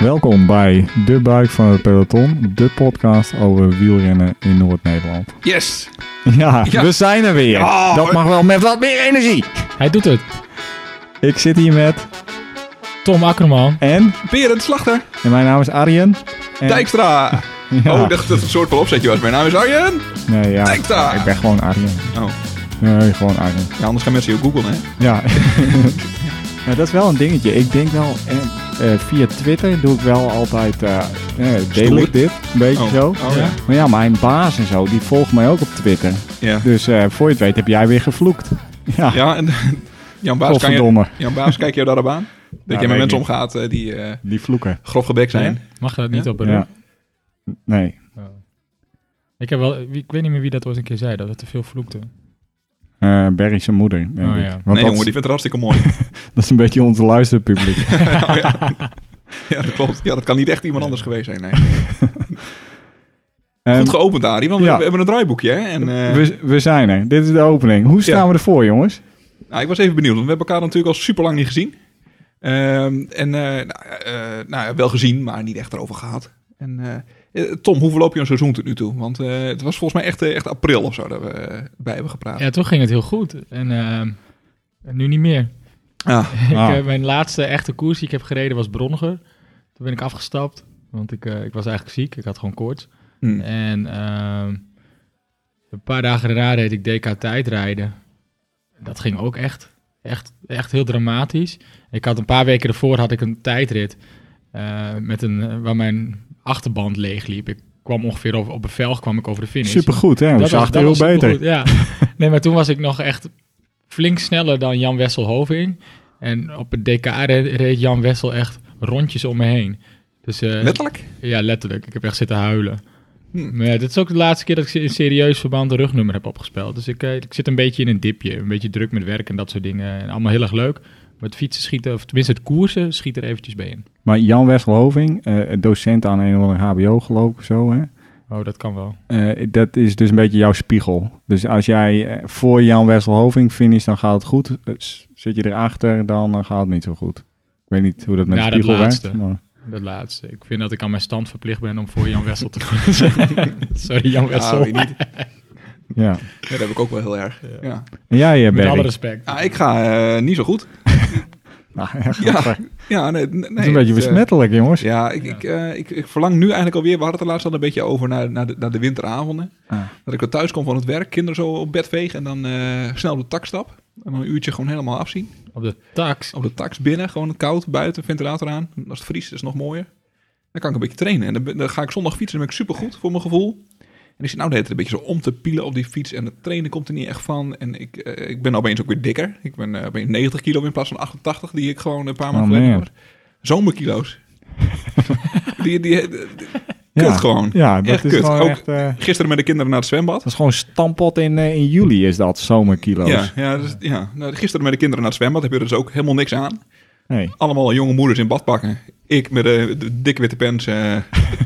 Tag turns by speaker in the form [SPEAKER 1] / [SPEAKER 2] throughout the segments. [SPEAKER 1] Welkom bij De Buik van het Peloton, de podcast over wielrennen in Noord-Nederland.
[SPEAKER 2] Yes!
[SPEAKER 1] Ja,
[SPEAKER 2] Ja.
[SPEAKER 1] we zijn er weer.
[SPEAKER 2] Ja,
[SPEAKER 1] Dat
[SPEAKER 2] we-
[SPEAKER 1] mag wel met wat meer energie.
[SPEAKER 3] Hij doet het.
[SPEAKER 1] Ik zit hier met
[SPEAKER 3] Tom Akkerman.
[SPEAKER 1] en,
[SPEAKER 2] Berend Slachter,
[SPEAKER 1] en mijn naam is Arjen. En,
[SPEAKER 2] Dijkstra.
[SPEAKER 1] Ja.
[SPEAKER 2] Oh, ik dacht dat het een soort van opzetje was. Mijn naam is Arjen.
[SPEAKER 1] nee, ja,
[SPEAKER 2] Dijkstra.
[SPEAKER 1] Ik ben gewoon Arjen.
[SPEAKER 2] Oh,
[SPEAKER 1] Nee, gewoon Arjen.
[SPEAKER 2] ja, anders gaan mensen je ook googlen, hè?
[SPEAKER 1] Ja. ja, dat is wel een dingetje. Ik denk wel, en, eh, via Twitter doe ik wel altijd, eh eh, deel
[SPEAKER 2] Stoer.
[SPEAKER 1] ik dit, een beetje
[SPEAKER 2] Oh,
[SPEAKER 1] zo.
[SPEAKER 2] oh ja.
[SPEAKER 1] Maar ja, mijn baas en zo, die volgt mij ook op Twitter.
[SPEAKER 2] Ja,
[SPEAKER 1] Dus eh, voor je het weet heb jij weer gevloekt. Ja,
[SPEAKER 2] ja en Jan Baas, kan je,
[SPEAKER 1] godverdomme. Nou,
[SPEAKER 2] Jan Baas kijk jou daarop aan? Dat je
[SPEAKER 1] weet
[SPEAKER 2] met
[SPEAKER 1] ik
[SPEAKER 2] mensen
[SPEAKER 1] niet.
[SPEAKER 2] omgaat eh, die eh
[SPEAKER 1] Die vloeken.
[SPEAKER 2] grof gebek zijn.
[SPEAKER 3] Mag dat niet
[SPEAKER 2] Ja?
[SPEAKER 3] op een Oh.
[SPEAKER 1] Ja. Nee.
[SPEAKER 3] Ik, heb wel, ik weet niet meer wie dat ooit een keer zei, dat we te veel vloekten.
[SPEAKER 1] Eh Barry zijn moeder. denk
[SPEAKER 3] Oh,
[SPEAKER 1] ik.
[SPEAKER 3] ja.
[SPEAKER 1] Want
[SPEAKER 2] Nee,
[SPEAKER 1] dat,
[SPEAKER 2] jongen, die vindt het hartstikke mooi.
[SPEAKER 1] dat is een beetje ons luisterpubliek.
[SPEAKER 2] Oh, ja. ja, dat klopt. Ja, dat kan niet echt iemand anders geweest zijn, nee.
[SPEAKER 1] Ehm,
[SPEAKER 2] Goed geopend, Arie, want
[SPEAKER 1] ja.
[SPEAKER 2] we hebben een draaiboekje, hè? En, eh,
[SPEAKER 1] Ehm, we, we zijn er. Dit is de opening. Hoe staan
[SPEAKER 2] Ja.
[SPEAKER 1] we ervoor, jongens?
[SPEAKER 2] Nou, ik was even benieuwd, want we hebben elkaar natuurlijk al super lang niet gezien. Ehm, en eh, nou, eh, eh, nou, ja, wel gezien, maar niet echt erover gehad. En, eh, eh, Tom, hoe verloop je een seizoen tot nu toe? Want eh, het was volgens mij echt, eh, echt april of zo dat we eh, bij hebben gepraat.
[SPEAKER 3] Ja, toch ging het heel goed. En ehm, nu niet meer.
[SPEAKER 2] Ah,
[SPEAKER 3] Ik,
[SPEAKER 1] Ah.
[SPEAKER 3] eh, mijn laatste echte koers die ik heb gereden was Bronniger. Toen ben ik afgestapt, want ik, eh, ik was eigenlijk ziek. Ik had gewoon koorts.
[SPEAKER 2] hm.
[SPEAKER 3] En ehm, een paar dagen daarna deed ik DK tijdrijden. Dat ging ook echt, echt, echt heel dramatisch. Ik had een paar weken ervoor had ik een tijdrit eh, met een, eh, waar mijn achterband leeg liep. Ik kwam ongeveer over, op een velg kwam ik over de finish.
[SPEAKER 1] Supergoed, hè? We
[SPEAKER 3] was-
[SPEAKER 1] zagen er heel
[SPEAKER 3] was
[SPEAKER 1] beter.
[SPEAKER 3] supergoed, ja. nee, maar toen was ik nog echt flink sneller dan Jan Wessel Hoving. En op het DK reed, reed Jan Wessel echt rondjes om me heen. Dus, eh,
[SPEAKER 2] Letterlijk?
[SPEAKER 3] ja, letterlijk. Ik heb echt zitten huilen.
[SPEAKER 2] Hm.
[SPEAKER 3] Maar ja, dit is ook de laatste keer dat ik in serieus verband een rugnummer heb opgespeld. Dus ik, eh, ik zit een beetje in een dipje. Een beetje druk met werk en dat soort dingen. En allemaal heel erg leuk. Maar het fietsen schiet, er- of tenminste het koersen, schiet er eventjes bij in.
[SPEAKER 1] Maar Jan Wesselhoving, eh, docent aan een of andere HBO geloof ik zo, hè?
[SPEAKER 3] Oh, dat kan wel.
[SPEAKER 1] Eh, dat is dus een beetje jouw spiegel. Dus als jij eh, voor Jan Wesselhoving finish, dan gaat het goed. Eh, s- zit je erachter, dan eh, gaat het niet zo goed. Ik weet niet hoe dat met
[SPEAKER 3] Ja,
[SPEAKER 1] de
[SPEAKER 3] dat
[SPEAKER 1] spiegel werkt.
[SPEAKER 3] laatste.
[SPEAKER 1] maar-
[SPEAKER 3] Dat laatste. Ik vind dat ik aan mijn stand verplicht ben om voor Jan Wessel te gaan. Sorry, Jan
[SPEAKER 2] Ah,
[SPEAKER 3] Wessel.
[SPEAKER 2] weet niet.
[SPEAKER 1] Ja.
[SPEAKER 2] Ja, dat heb ik ook wel heel erg. Ja.
[SPEAKER 1] En jij, eh,
[SPEAKER 3] met alle
[SPEAKER 1] Barry?
[SPEAKER 3] respect.
[SPEAKER 2] Ah, ik ga eh, niet zo goed.
[SPEAKER 1] Nou, echt,
[SPEAKER 2] Ja,
[SPEAKER 1] dat
[SPEAKER 2] Ja, nee, nee,
[SPEAKER 1] is een beetje
[SPEAKER 2] het, eh,
[SPEAKER 1] besmettelijk, jongens.
[SPEAKER 2] Ja, ik, Ik, eh, ik, ik verlang nu eigenlijk alweer, we hadden het er laatst al een beetje over, naar, naar, de, naar de winteravonden.
[SPEAKER 1] Ah.
[SPEAKER 2] Dat ik weer thuis kom van het werk, kinderen zo op bed vegen en dan eh, snel op de tak stap. En dan een uurtje gewoon helemaal afzien.
[SPEAKER 3] Op de tax.
[SPEAKER 2] Op de tax binnen, gewoon koud, buiten, ventilator aan. Als het vriest is het nog mooier. Dan kan ik een beetje trainen. En dan, ben- dan ga ik zondag fietsen, dan ben ik supergoed voor mijn gevoel. En ik zit nou de hele tijd een beetje zo om te pielen op die fiets. En het trainen komt er niet echt van. En ik, eh, ik ben opeens ook weer dikker. Ik ben eh, opeens 90 kilo in plaats van 88 die ik gewoon een paar maanden
[SPEAKER 1] Oh,
[SPEAKER 2] geleden
[SPEAKER 1] man.
[SPEAKER 2] was. Zomerkilo's. die, die, die- die-
[SPEAKER 1] Ja.
[SPEAKER 2] kut gewoon.
[SPEAKER 1] Ja, dat
[SPEAKER 2] Echt
[SPEAKER 1] is
[SPEAKER 2] kut.
[SPEAKER 1] gewoon
[SPEAKER 2] Ook-
[SPEAKER 1] echt... eh,
[SPEAKER 2] Gisteren met de kinderen naar het zwembad.
[SPEAKER 1] dat is gewoon stampot in, eh, in juli, is dat, zomerkilo's.
[SPEAKER 2] Ja, ja, dus, ja. Nou, gisteren met de kinderen naar het zwembad heb je er dus ook helemaal niks aan.
[SPEAKER 1] Nee.
[SPEAKER 2] Allemaal jonge moeders in badpakken. Ik met de, de dikke witte pens eh,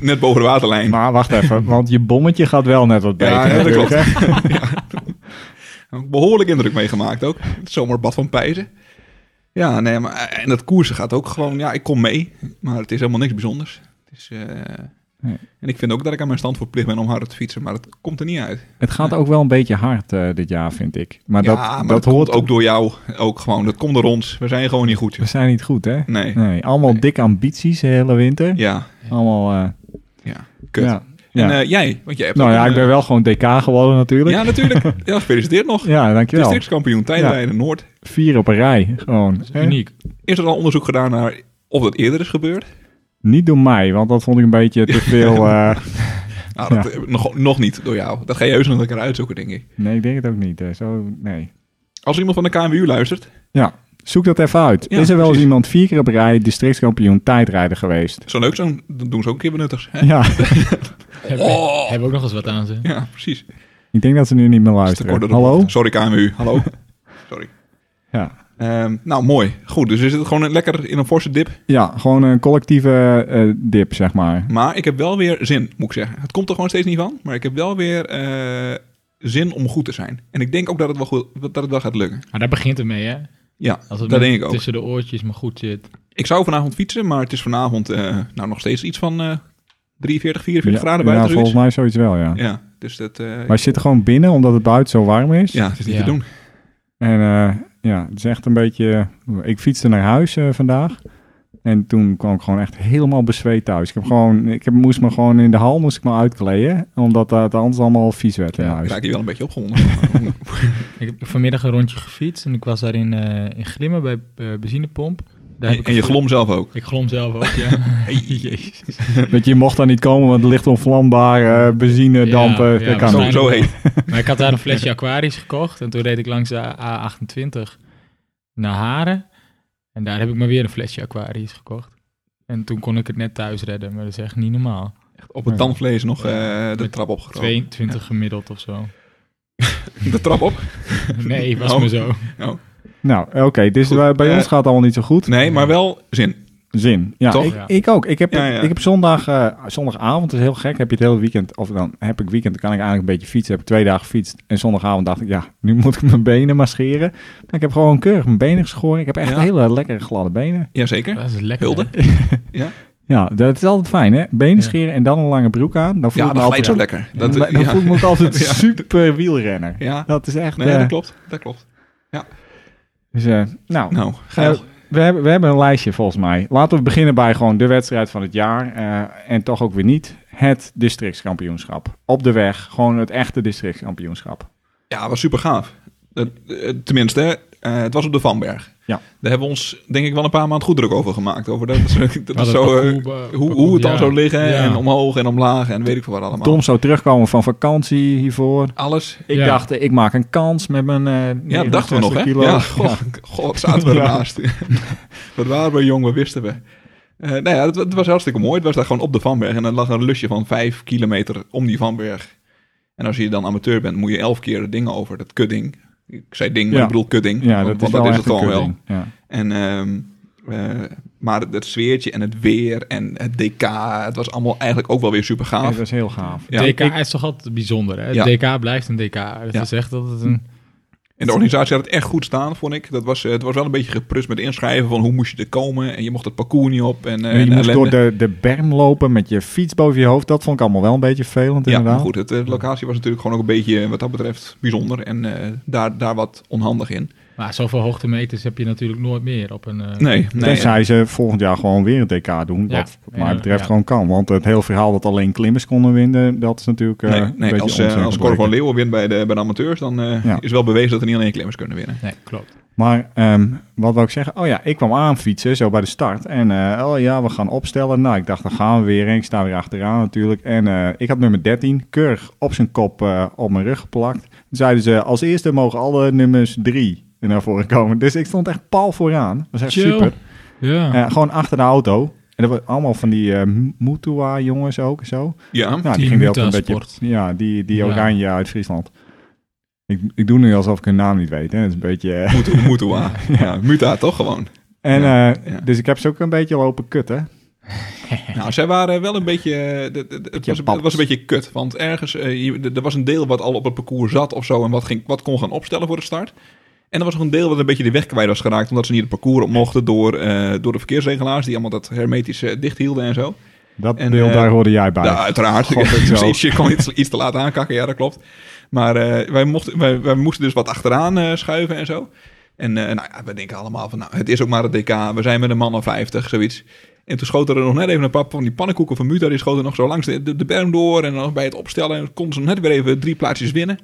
[SPEAKER 2] net boven de waterlijn.
[SPEAKER 1] Maar wacht even, want je bommetje gaat wel net wat beter.
[SPEAKER 2] ja, ja, dat
[SPEAKER 1] natuurlijk,
[SPEAKER 2] klopt.
[SPEAKER 1] hè?
[SPEAKER 2] Ja. Behoorlijk indruk meegemaakt ook. Het zomerbad van Pijzen. Ja, nee, maar eh, en dat koersen gaat ook gewoon... Ja, ik kom mee, maar het is helemaal niks bijzonders. Het is, eh,
[SPEAKER 1] Nee.
[SPEAKER 2] En ik vind ook dat ik aan mijn stand verplicht ben om harder te fietsen, maar dat komt er niet uit.
[SPEAKER 1] Het gaat ook wel een beetje hard eh, dit jaar, vind ik. Maar
[SPEAKER 2] ja,
[SPEAKER 1] dat,
[SPEAKER 2] maar
[SPEAKER 1] dat, hoort
[SPEAKER 2] komt ook door jou. Ook gewoon, dat komt door ons. We zijn gewoon niet goed.
[SPEAKER 1] We zijn niet goed, hè?
[SPEAKER 2] Nee,
[SPEAKER 1] Nee, allemaal
[SPEAKER 2] Nee.
[SPEAKER 1] dikke ambities de hele winter.
[SPEAKER 2] ja,
[SPEAKER 1] Allemaal, eh,
[SPEAKER 2] kut.
[SPEAKER 1] ja.
[SPEAKER 2] En
[SPEAKER 1] Ja.
[SPEAKER 2] eh, jij? Want jij hebt
[SPEAKER 1] nou
[SPEAKER 2] ook
[SPEAKER 1] ja,
[SPEAKER 2] een, eh,
[SPEAKER 1] ik ben wel gewoon DK geworden natuurlijk.
[SPEAKER 2] Ja, natuurlijk. Ja, gefeliciteerd nog.
[SPEAKER 1] Ja, dankjewel.
[SPEAKER 2] Districtskampioen, tijdrijden, Noord.
[SPEAKER 1] Vier op een rij, gewoon.
[SPEAKER 3] Dat is
[SPEAKER 1] hè?
[SPEAKER 3] uniek.
[SPEAKER 2] Is er al onderzoek gedaan naar of dat eerder is gebeurd?
[SPEAKER 1] Niet door mij, want dat vond ik een beetje te veel. eh,
[SPEAKER 2] Nou, dat, eh, nog, nog niet door jou. Dat ga je heus nog een keer uitzoeken, denk ik.
[SPEAKER 1] nee, ik denk het ook niet. eh, zo, nee.
[SPEAKER 2] Als er iemand van de KMU luistert,
[SPEAKER 1] Zoek dat even uit.
[SPEAKER 2] Ja,
[SPEAKER 1] is er wel eens
[SPEAKER 2] precies.
[SPEAKER 1] iemand vier keer op een rij districtskampioen tijdrijder geweest?
[SPEAKER 2] zo leuk, zo'n, dan doen ze ook een keer benuttigs. Hè?
[SPEAKER 1] Ja,
[SPEAKER 3] Heb,
[SPEAKER 2] Oh.
[SPEAKER 3] hebben we ook nog eens wat aan ze.
[SPEAKER 2] Ja, precies. Dat
[SPEAKER 1] ik denk dat ze nu niet meer
[SPEAKER 2] is te kort
[SPEAKER 1] luisteren.
[SPEAKER 2] door de
[SPEAKER 1] Hallo?
[SPEAKER 2] bocht. Sorry KMU, hallo. Sorry.
[SPEAKER 1] Ja.
[SPEAKER 2] Ehm, nou, mooi. Goed, dus is het gewoon een- lekker in een forse dip.
[SPEAKER 1] ja, gewoon een collectieve eh, dip, zeg maar.
[SPEAKER 2] Maar ik heb wel weer zin, moet ik zeggen. Het komt er gewoon steeds niet van, maar ik heb wel weer eh, zin om goed te zijn. En ik denk ook dat het wel, goed, dat het wel gaat lukken.
[SPEAKER 3] Maar daar Ah, begint het mee, hè?
[SPEAKER 2] Ja,
[SPEAKER 3] Als het
[SPEAKER 2] dat
[SPEAKER 3] met-
[SPEAKER 2] denk ik ook.
[SPEAKER 3] tussen de oortjes maar goed zit.
[SPEAKER 2] Ik zou vanavond fietsen, maar het is vanavond eh, nou nog steeds iets van eh 43, 44 graden
[SPEAKER 1] ja,
[SPEAKER 2] buiten.
[SPEAKER 1] volgens
[SPEAKER 2] zoiets.
[SPEAKER 1] mij zoiets wel, ja.
[SPEAKER 2] Ja, dus dat... eh,
[SPEAKER 1] Maar je zit er gewoon binnen omdat het buiten zo warm is.
[SPEAKER 2] ja, het is niet
[SPEAKER 3] Ja.
[SPEAKER 2] te doen.
[SPEAKER 1] En eh, ja, het is echt een beetje... eh, Ik fietste naar huis eh, vandaag. En toen kwam ik gewoon echt helemaal bezweet thuis. Ik, heb gewoon, ik heb, moest me gewoon in de hal moest ik me uitkleden. Omdat dat anders allemaal vies werd in
[SPEAKER 2] Ja, ik
[SPEAKER 1] huis.
[SPEAKER 2] raak hier wel een beetje opgewonden.
[SPEAKER 3] Ik heb vanmiddag een rondje gefietst en ik was daar in, eh, in Glimmen bij eh, benzinepomp. Daar
[SPEAKER 2] en,
[SPEAKER 3] heb ik
[SPEAKER 2] en je glom zelf ook.
[SPEAKER 3] Ik glom zelf ook, ja. Jezus.
[SPEAKER 1] Dat je mocht daar niet komen, want het ligt onvlambare benzine,
[SPEAKER 3] Ja,
[SPEAKER 1] dampen.
[SPEAKER 3] ja,
[SPEAKER 1] dat kan
[SPEAKER 3] maar
[SPEAKER 2] Zo,
[SPEAKER 1] niet.
[SPEAKER 2] zo heet.
[SPEAKER 3] Maar ik had daar een flesje Aquarius gekocht en toen reed ik langs de A28 naar Haren. En daar heb ik maar weer een flesje Aquarius gekocht. En toen kon ik het net thuis redden, maar dat is echt niet
[SPEAKER 2] Oh.
[SPEAKER 3] normaal.
[SPEAKER 2] Op het
[SPEAKER 1] Ja.
[SPEAKER 2] tandvlees nog eh, de
[SPEAKER 3] Met
[SPEAKER 2] trap opgekomen.
[SPEAKER 3] 22 gemiddeld of zo.
[SPEAKER 2] De trap op?
[SPEAKER 3] Nee, was
[SPEAKER 2] Oh.
[SPEAKER 3] me zo.
[SPEAKER 1] Nou, oké. dus
[SPEAKER 2] Goed,
[SPEAKER 1] bij, bij
[SPEAKER 2] eh,
[SPEAKER 1] ons gaat het allemaal niet zo goed.
[SPEAKER 2] Nee, maar wel zin.
[SPEAKER 1] Zin. Ja,
[SPEAKER 2] Toch?
[SPEAKER 1] Ik,
[SPEAKER 3] Ja.
[SPEAKER 1] ik ook. Ik heb,
[SPEAKER 2] Ja, ja.
[SPEAKER 1] Ik heb zondag, eh, zondagavond, is heel gek, heb je het hele weekend, of dan heb ik weekend, dan kan ik eigenlijk een beetje fietsen. Heb ik twee dagen gefietst en zondagavond dacht ik, ja, nu moet ik mijn benen maar scheren. Maar ik heb gewoon keurig mijn benen geschoren. Ik heb echt
[SPEAKER 2] Ja.
[SPEAKER 1] hele lekkere gladde benen.
[SPEAKER 2] Jazeker.
[SPEAKER 3] Dat is lekker.
[SPEAKER 2] Hulde?
[SPEAKER 3] hè?
[SPEAKER 1] Ja, dat is altijd fijn hè. Benen
[SPEAKER 3] Ja.
[SPEAKER 1] scheren en dan een lange broek aan. Dan voel
[SPEAKER 2] Ja,
[SPEAKER 1] ik me
[SPEAKER 2] dat glijdt zo
[SPEAKER 1] altijd,
[SPEAKER 2] lekker. Dat,
[SPEAKER 1] dan, dan
[SPEAKER 2] ja.
[SPEAKER 1] voel ik me ook altijd
[SPEAKER 2] Ja.
[SPEAKER 1] super wielrenner.
[SPEAKER 2] Ja.
[SPEAKER 1] Dat is echt,
[SPEAKER 2] Nee,
[SPEAKER 1] eh,
[SPEAKER 2] dat klopt. Dat klopt.
[SPEAKER 1] dus, eh, nou,
[SPEAKER 2] Nou, geil.
[SPEAKER 1] Eh, We hebben, we hebben een lijstje volgens mij. Laten we beginnen bij gewoon de wedstrijd van het jaar. eh, en toch ook weer niet. Het districtskampioenschap. Op de weg. Gewoon het echte districtskampioenschap.
[SPEAKER 2] Ja, was super gaaf. eh, tenminste, hè, eh, het was op de Vanberg.
[SPEAKER 1] Ja.
[SPEAKER 2] Daar hebben we ons denk ik wel een paar maanden goed druk over gemaakt. Over dat, dat,
[SPEAKER 3] Wat
[SPEAKER 2] is
[SPEAKER 3] een
[SPEAKER 2] zo, eh,
[SPEAKER 3] parcours,
[SPEAKER 2] hoe,
[SPEAKER 3] eh,
[SPEAKER 2] hoe
[SPEAKER 3] parcours,
[SPEAKER 2] het dan
[SPEAKER 3] ja.
[SPEAKER 2] zou liggen
[SPEAKER 3] Ja.
[SPEAKER 2] en omhoog en omlaag en weet ik veel wat allemaal.
[SPEAKER 1] Tom zou terugkomen van vakantie hiervoor.
[SPEAKER 2] Alles.
[SPEAKER 1] Ik
[SPEAKER 3] Ja.
[SPEAKER 1] dacht, eh, ik maak een kans met mijn eh
[SPEAKER 2] Ja, dat dachten we nog,
[SPEAKER 1] 69
[SPEAKER 2] hè?
[SPEAKER 1] kilo.
[SPEAKER 2] Ja, god, god, zaten we
[SPEAKER 1] Ja.
[SPEAKER 2] ernaast. wat waren we jong, wat wisten we. Eh nou ja, het, het was hartstikke mooi. Het was daar gewoon op de Vanberg. En dan lag een lusje van vijf kilometer om die Vanberg. En als je dan amateur bent, moet je elf keer het ding over, dat kutding. Ik zei ding, maar
[SPEAKER 1] Ja.
[SPEAKER 2] ik bedoel kutding.
[SPEAKER 1] Ja,
[SPEAKER 2] want-
[SPEAKER 1] dat is
[SPEAKER 2] want
[SPEAKER 1] wel echt een
[SPEAKER 2] gewoon
[SPEAKER 1] kutding. Ja.
[SPEAKER 2] En, ehm, eh, maar het sfeertje en het weer en het DK, het was allemaal eigenlijk ook wel weer super
[SPEAKER 1] Ja,
[SPEAKER 2] gaaf.
[SPEAKER 1] dat is heel gaaf.
[SPEAKER 2] Ja,
[SPEAKER 3] DK is toch altijd bijzonder, hè?
[SPEAKER 2] Ja.
[SPEAKER 3] DK blijft een DK. Dat
[SPEAKER 2] Ja.
[SPEAKER 3] is echt dat het een...
[SPEAKER 2] En de organisatie had het echt goed staan, vond ik. Dat was, eh, het was wel een beetje geprust met inschrijven van hoe moest je er komen. En je mocht het parcours niet op. En, eh,
[SPEAKER 1] En
[SPEAKER 2] en
[SPEAKER 1] je moest
[SPEAKER 2] ellende.
[SPEAKER 1] door de, de berm lopen met je fiets boven je hoofd. Dat vond ik allemaal wel een beetje vervelend
[SPEAKER 2] Ja, maar
[SPEAKER 1] inderdaad.
[SPEAKER 2] goed, het, eh, de locatie was natuurlijk gewoon ook een beetje, eh, wat dat betreft, bijzonder. En eh, daar, daar wat onhandig in.
[SPEAKER 3] Maar zoveel hoogtemeters heb je natuurlijk nooit meer op een... eh,
[SPEAKER 2] Nee, nee. eh,
[SPEAKER 1] Tenzij ze volgend jaar gewoon weer een DK doen.
[SPEAKER 3] Ja.
[SPEAKER 1] Wat mij
[SPEAKER 3] Ja,
[SPEAKER 1] betreft
[SPEAKER 3] ja.
[SPEAKER 1] gewoon kan. Want het hele verhaal dat alleen klimmers konden winnen, dat is natuurlijk eh,
[SPEAKER 2] nee,
[SPEAKER 1] een
[SPEAKER 2] nee,
[SPEAKER 1] beetje
[SPEAKER 2] als, eh,
[SPEAKER 1] onzin
[SPEAKER 2] als Cor
[SPEAKER 1] gebleken.
[SPEAKER 2] van Leeuwen wint bij de, bij de amateurs, dan eh,
[SPEAKER 1] Ja.
[SPEAKER 2] is wel bewezen dat er niet alleen klimmers kunnen winnen.
[SPEAKER 3] nee klopt.
[SPEAKER 1] Maar ehm, wat wil ik zeggen? Oh ja, ik kwam aan fietsen, zo bij de start. En eh, oh ja, we gaan opstellen. Nou, ik dacht, dan gaan we weer. En ik sta weer achteraan natuurlijk. En eh, ik had nummer 13 keurig op zijn kop eh, op mijn rug geplakt. Toen zeiden ze, als eerste mogen alle nummers 3 naar voren komen. Dus ik stond echt pal vooraan. Dat was echt
[SPEAKER 3] Chill.
[SPEAKER 1] super.
[SPEAKER 3] Ja.
[SPEAKER 1] Eh, gewoon achter de auto. En dat was allemaal van die eh Mutua jongens ook en zo.
[SPEAKER 2] Ja,
[SPEAKER 1] Nou, die,
[SPEAKER 3] Team
[SPEAKER 1] ging wel een beetje.
[SPEAKER 3] Mutasport.
[SPEAKER 1] Ja, die, die
[SPEAKER 3] Ja.
[SPEAKER 1] oranje uit Friesland. Ik, ik doe nu alsof ik hun naam niet weet. Hè. Dat is een beetje. eh,
[SPEAKER 2] moet, moet, ja. ja, Muta toch gewoon.
[SPEAKER 1] En,
[SPEAKER 2] Ja,
[SPEAKER 1] eh,
[SPEAKER 2] ja.
[SPEAKER 1] Dus ik heb ze ook een beetje lopen kutten.
[SPEAKER 2] Nou, zij waren wel een beetje. eh, de- de- de- Het
[SPEAKER 1] Beetje
[SPEAKER 2] was, het was
[SPEAKER 1] babbels.
[SPEAKER 2] een beetje kut. Want ergens. eh, je- de- er was een deel wat al op het parcours zat of zo. En wat, ging, wat kon gaan opstellen voor de start. En er was nog een deel wat een beetje de weg kwijt was geraakt. Omdat ze niet het parcours op mochten door, eh, door de verkeersregelaars. Die allemaal dat hermetisch eh, dicht hielden en zo.
[SPEAKER 1] Dat
[SPEAKER 2] En,
[SPEAKER 1] deel,
[SPEAKER 2] eh,
[SPEAKER 1] daar hoorde jij bij.
[SPEAKER 2] Ja, uiteraard.
[SPEAKER 1] God, dat zo.
[SPEAKER 2] Precies, je kon iets, iets te laat aankakken, ja, dat klopt. Maar eh, wij, mochten, wij, wij moesten dus wat achteraan eh, schuiven en zo. En eh, nou ja, we denken allemaal van, nou, het is ook maar het DK. We zijn met een man of 50, zoiets. En toen schoten er nog net even een paar van die pannenkoeken van Muta. Die schoten nog zo langs de, de, de berm door. En dan bij het opstellen konden ze net weer even drie plaatsjes winnen.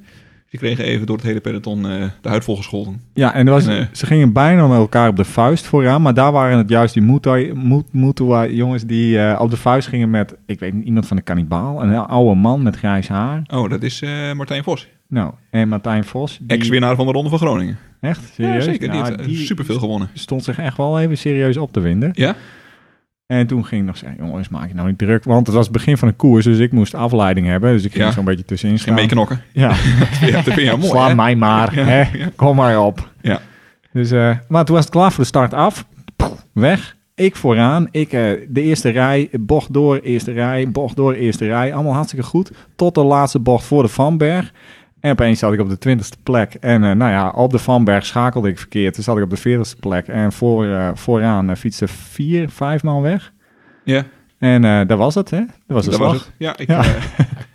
[SPEAKER 2] Die kregen even door het hele peloton eh, de huid volgescholden.
[SPEAKER 1] Ja, en er was,
[SPEAKER 2] Nee.
[SPEAKER 1] ze gingen bijna met elkaar op de vuist vooraan. Maar daar waren het juist die Mutai- Mut- Mutua jongens die eh, op de vuist gingen met, ik weet niet, iemand van de kannibaal. Een oude man met grijs haar.
[SPEAKER 2] Oh, dat is eh, Martijn Vos.
[SPEAKER 1] Nou, en Martijn Vos. die-
[SPEAKER 2] Ex-winnaar van de Ronde van Groningen.
[SPEAKER 1] Echt? Serieus?
[SPEAKER 2] Ja, zeker. Die
[SPEAKER 1] Nou,
[SPEAKER 2] heeft eh,
[SPEAKER 1] die
[SPEAKER 2] superveel gewonnen.
[SPEAKER 1] stond zich echt wel even serieus op te winden.
[SPEAKER 2] Ja?
[SPEAKER 1] En toen ging ik nog zeggen, jongens, maak je nou niet druk. Want het was het begin van een koers, dus ik moest afleiding hebben. Dus ik ging
[SPEAKER 2] Ja.
[SPEAKER 1] zo'n beetje tussenin
[SPEAKER 2] Geen
[SPEAKER 1] slaan.
[SPEAKER 2] meeknokken.
[SPEAKER 1] Ja,
[SPEAKER 2] Ja, dat vind jij mooi,
[SPEAKER 1] sla
[SPEAKER 2] hè?
[SPEAKER 1] mij maar.
[SPEAKER 2] Ja,
[SPEAKER 1] hè.
[SPEAKER 2] ja.
[SPEAKER 1] Kom maar op.
[SPEAKER 2] Ja.
[SPEAKER 1] Dus, eh, maar toen was het klaar voor de start af. Pff, Weg. Ik vooraan. Ik eh, de eerste rij, bocht door, eerste rij, bocht door, eerste rij. Allemaal hartstikke goed. Tot de laatste bocht voor de Vanberg. En opeens zat ik op de twintigste plek. En eh, nou ja, op de Vanberg schakelde ik verkeerd. Toen zat ik op de veertigste plek. En voor, eh, vooraan eh, fietste vier, vijf man weg.
[SPEAKER 2] Ja,
[SPEAKER 1] En eh daar was het, hè? Dat was de
[SPEAKER 2] dat
[SPEAKER 1] slag.
[SPEAKER 2] was het. Ja, ik,
[SPEAKER 1] Ja.
[SPEAKER 2] eh,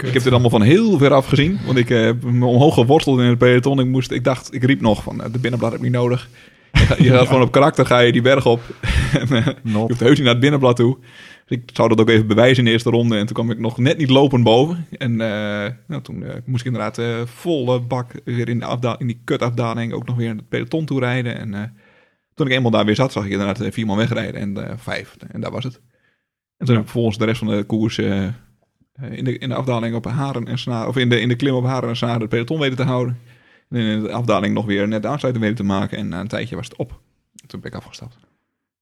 [SPEAKER 2] ik heb dit allemaal van heel ver af gezien. Want ik eh, heb me omhoog geworsteld in het peloton. Ik, moest, ik dacht, ik riep nog van eh, de binnenblad heb ik niet nodig. Je gaat, je gaat gewoon op karakter, ga je die berg op. en, eh,
[SPEAKER 1] Not.
[SPEAKER 2] je hoeft heus niet naar het binnenblad toe. Dus ik zou dat ook even bewijzen in de eerste ronde. En toen kwam ik nog net niet lopend boven. En eh, nou, toen eh, moest ik inderdaad eh volle bak weer in, de afda- in die kutafdaling ook nog weer naar het peloton toe rijden. En eh, toen ik eenmaal daar weer zat, zag ik inderdaad eh, vier man wegrijden en eh, vijf. En daar was het. En toen heb ik volgens de rest van de koers eh, eh, in, de, in de afdaling op haren en snaren, of in de, in de klim op haren en snaren het peloton weten te houden. En in de afdaling nog weer net de aansluiting weten te maken. En na een tijdje was het op. Toen ben ik afgestapt.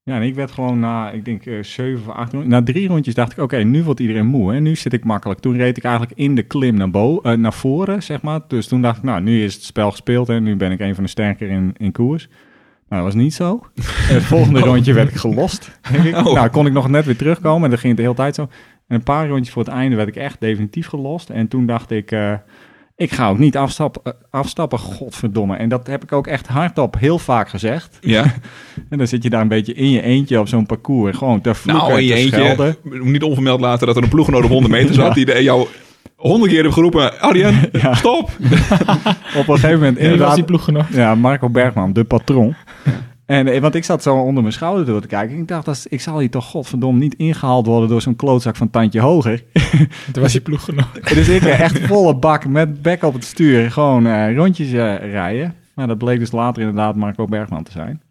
[SPEAKER 1] Ja, en ik werd gewoon na, ik denk, eh, zeven of acht rondjes. Na drie rondjes dacht ik, oké, nu wordt iedereen moe. En nu zit ik makkelijk. Toen reed ik eigenlijk in de klim naar, bo eh, naar voren, zeg maar. Dus toen dacht ik, nou, nu is het spel gespeeld. En nu ben ik een van de sterker in, in koers. Nou, dat was niet zo. En het volgende rondje werd ik gelost. denk ik.
[SPEAKER 2] Oh.
[SPEAKER 1] Nou, kon ik nog net weer terugkomen. En dat ging het de hele tijd zo. En een paar rondjes voor het einde werd ik echt definitief gelost. En toen dacht ik... eh, ik ga ook niet afstappen, eh, afstappen, godverdomme. En dat heb ik ook echt hardop heel vaak gezegd.
[SPEAKER 2] Ja,
[SPEAKER 1] En dan zit je daar een beetje in je eentje op zo'n parcours. Gewoon te vloeken,
[SPEAKER 2] nou in je
[SPEAKER 1] te schelden.
[SPEAKER 2] eentje. Niet onvermeld laten dat er een ploeggenoot op 100 meter zat.
[SPEAKER 1] Ja.
[SPEAKER 2] Die de- jou honderd keer heeft geroepen. Arjen,
[SPEAKER 1] Ja.
[SPEAKER 2] stop!
[SPEAKER 1] Op een gegeven moment
[SPEAKER 3] En was
[SPEAKER 1] inderdaad...
[SPEAKER 3] die ploeggenoot.
[SPEAKER 1] Ja, Marco Bergman, de patroon. En, eh, want ik zat zo onder mijn schouder door te kijken. Ik dacht, dat is- ik zal hier toch godverdomme niet ingehaald worden door zo'n klootzak van tandje hoger.
[SPEAKER 3] Toen was die ploeggenoot.
[SPEAKER 1] Dus ik eh, echt volle bak met bek op het stuur gewoon eh, rondjes eh, rijden. Maar dat bleek dus later inderdaad Marco Bergman te zijn.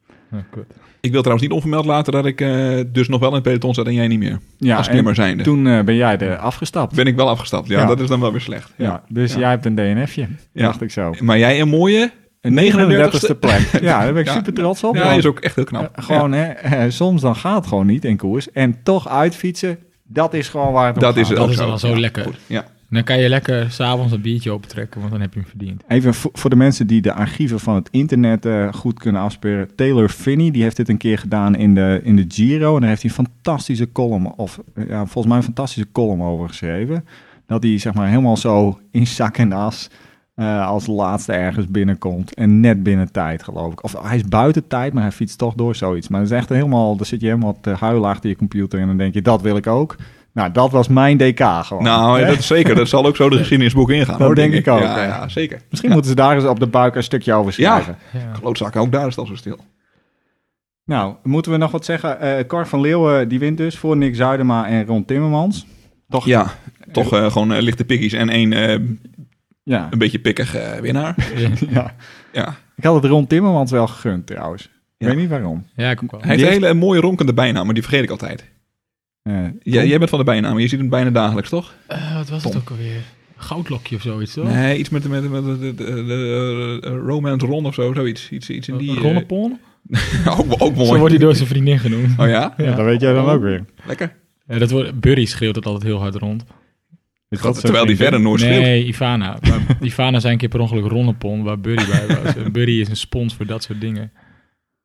[SPEAKER 2] Ik wil trouwens niet onvermeld laten dat ik eh, dus nog wel in het peloton zat en jij niet meer.
[SPEAKER 1] Ja,
[SPEAKER 2] als
[SPEAKER 1] en
[SPEAKER 2] klimmer zijnde.
[SPEAKER 1] toen eh, ben jij er afgestapt.
[SPEAKER 2] ben ik wel afgestapt. Ja,
[SPEAKER 1] Ja.
[SPEAKER 2] dat is dan wel weer slecht.
[SPEAKER 1] ja. dus jij hebt een DNF'je,
[SPEAKER 2] Ja.
[SPEAKER 1] dacht ik zo.
[SPEAKER 2] Maar jij een mooie...
[SPEAKER 1] Een
[SPEAKER 2] 39ste
[SPEAKER 1] 39ste plek. Ja, daar ben ik
[SPEAKER 2] Ja.
[SPEAKER 1] super trots op.
[SPEAKER 2] Ja,
[SPEAKER 1] want-
[SPEAKER 2] is ook echt heel knap.
[SPEAKER 1] Eh, gewoon, hè, eh, soms dan gaat het gewoon niet in koers. En toch uitfietsen, dat is gewoon waar het om
[SPEAKER 2] Dat is
[SPEAKER 1] gaat.
[SPEAKER 2] het. ook
[SPEAKER 3] Dat is
[SPEAKER 2] zo.
[SPEAKER 3] wel zo
[SPEAKER 2] Ja,
[SPEAKER 3] lekker.
[SPEAKER 2] Goed, ja.
[SPEAKER 3] Dan kan je lekker s'avonds een biertje opentrekken, want dan heb je hem verdiend.
[SPEAKER 1] Even vo- voor de mensen die de archieven van het internet eh, goed kunnen afspeuren. Taylor Finney, die heeft dit een keer gedaan in de, in de Giro. En daar heeft hij een fantastische column, of eh, ja, volgens mij een fantastische column over geschreven. Dat hij zeg maar helemaal zo in zak en as eh, als laatste ergens binnenkomt. En net binnen tijd, geloof ik. Of hij is buiten tijd, maar hij fietst toch door zoiets. Maar dat is echt helemaal, dan zit je helemaal te huilen achter je computer. En dan denk je, dat wil ik ook. Nou, dat was mijn DK gewoon.
[SPEAKER 2] Nou,
[SPEAKER 1] Hè?
[SPEAKER 2] dat is zeker. Dat zal ook zo de geschiedenisboek ingaan.
[SPEAKER 1] Dat
[SPEAKER 2] hoor,
[SPEAKER 1] denk ik ook,
[SPEAKER 2] Ja,
[SPEAKER 1] ja.
[SPEAKER 2] ja, zeker.
[SPEAKER 1] Misschien moeten ze daar eens op de buik een stukje over schrijven.
[SPEAKER 3] Ja.
[SPEAKER 2] Klootzakken, ook daar is het al zo stil.
[SPEAKER 1] Nou, moeten we nog wat zeggen? Eh Cor van Leeuwen die wint dus voor Nick Zuidema en Ron Timmermans. Toch?
[SPEAKER 2] Ja, toch eh, gewoon eh, lichte pikkies en één eh,
[SPEAKER 1] Ja.
[SPEAKER 2] een beetje pikkig eh, winnaar.
[SPEAKER 1] ja.
[SPEAKER 2] Ja.
[SPEAKER 1] Ik had het Ron Timmermans wel gegund trouwens. Ik
[SPEAKER 2] Ja.
[SPEAKER 1] weet niet waarom.
[SPEAKER 3] Ja, ik ook wel.
[SPEAKER 2] Hij heeft een hele mooie ronkende bijnaam, maar die vergeet ik altijd.
[SPEAKER 1] Eh,
[SPEAKER 2] Jij, jij bent van de bijnaam, je ziet hem bijna dagelijks, toch?
[SPEAKER 3] Eh, wat was het ook alweer? Goudlokje of zoiets, toch?
[SPEAKER 2] Nee, iets met, met, met, met- de- de- de- de- Romance Ron of zo, zoiets. Iets, iets in die... eh, Oh,
[SPEAKER 3] Ronnepon?
[SPEAKER 2] ook, ook
[SPEAKER 3] Zo
[SPEAKER 2] mooi.
[SPEAKER 3] wordt hij door zijn vriendin genoemd.
[SPEAKER 2] Oh ja?
[SPEAKER 1] ja, dat weet jij dan
[SPEAKER 3] Oh.
[SPEAKER 1] ook weer.
[SPEAKER 2] Lekker.
[SPEAKER 3] Ja, dat wordt, Burry schreeuwt het altijd heel hard rond.
[SPEAKER 1] Is dat zo
[SPEAKER 2] Terwijl
[SPEAKER 1] vriendin?
[SPEAKER 2] die verder nooit schreeuwt.
[SPEAKER 3] Nee, Ivana. Maar Ivana zijn een keer per ongeluk Ronnepon, waar Burry bij was. En Burry is een spons voor dat soort dingen.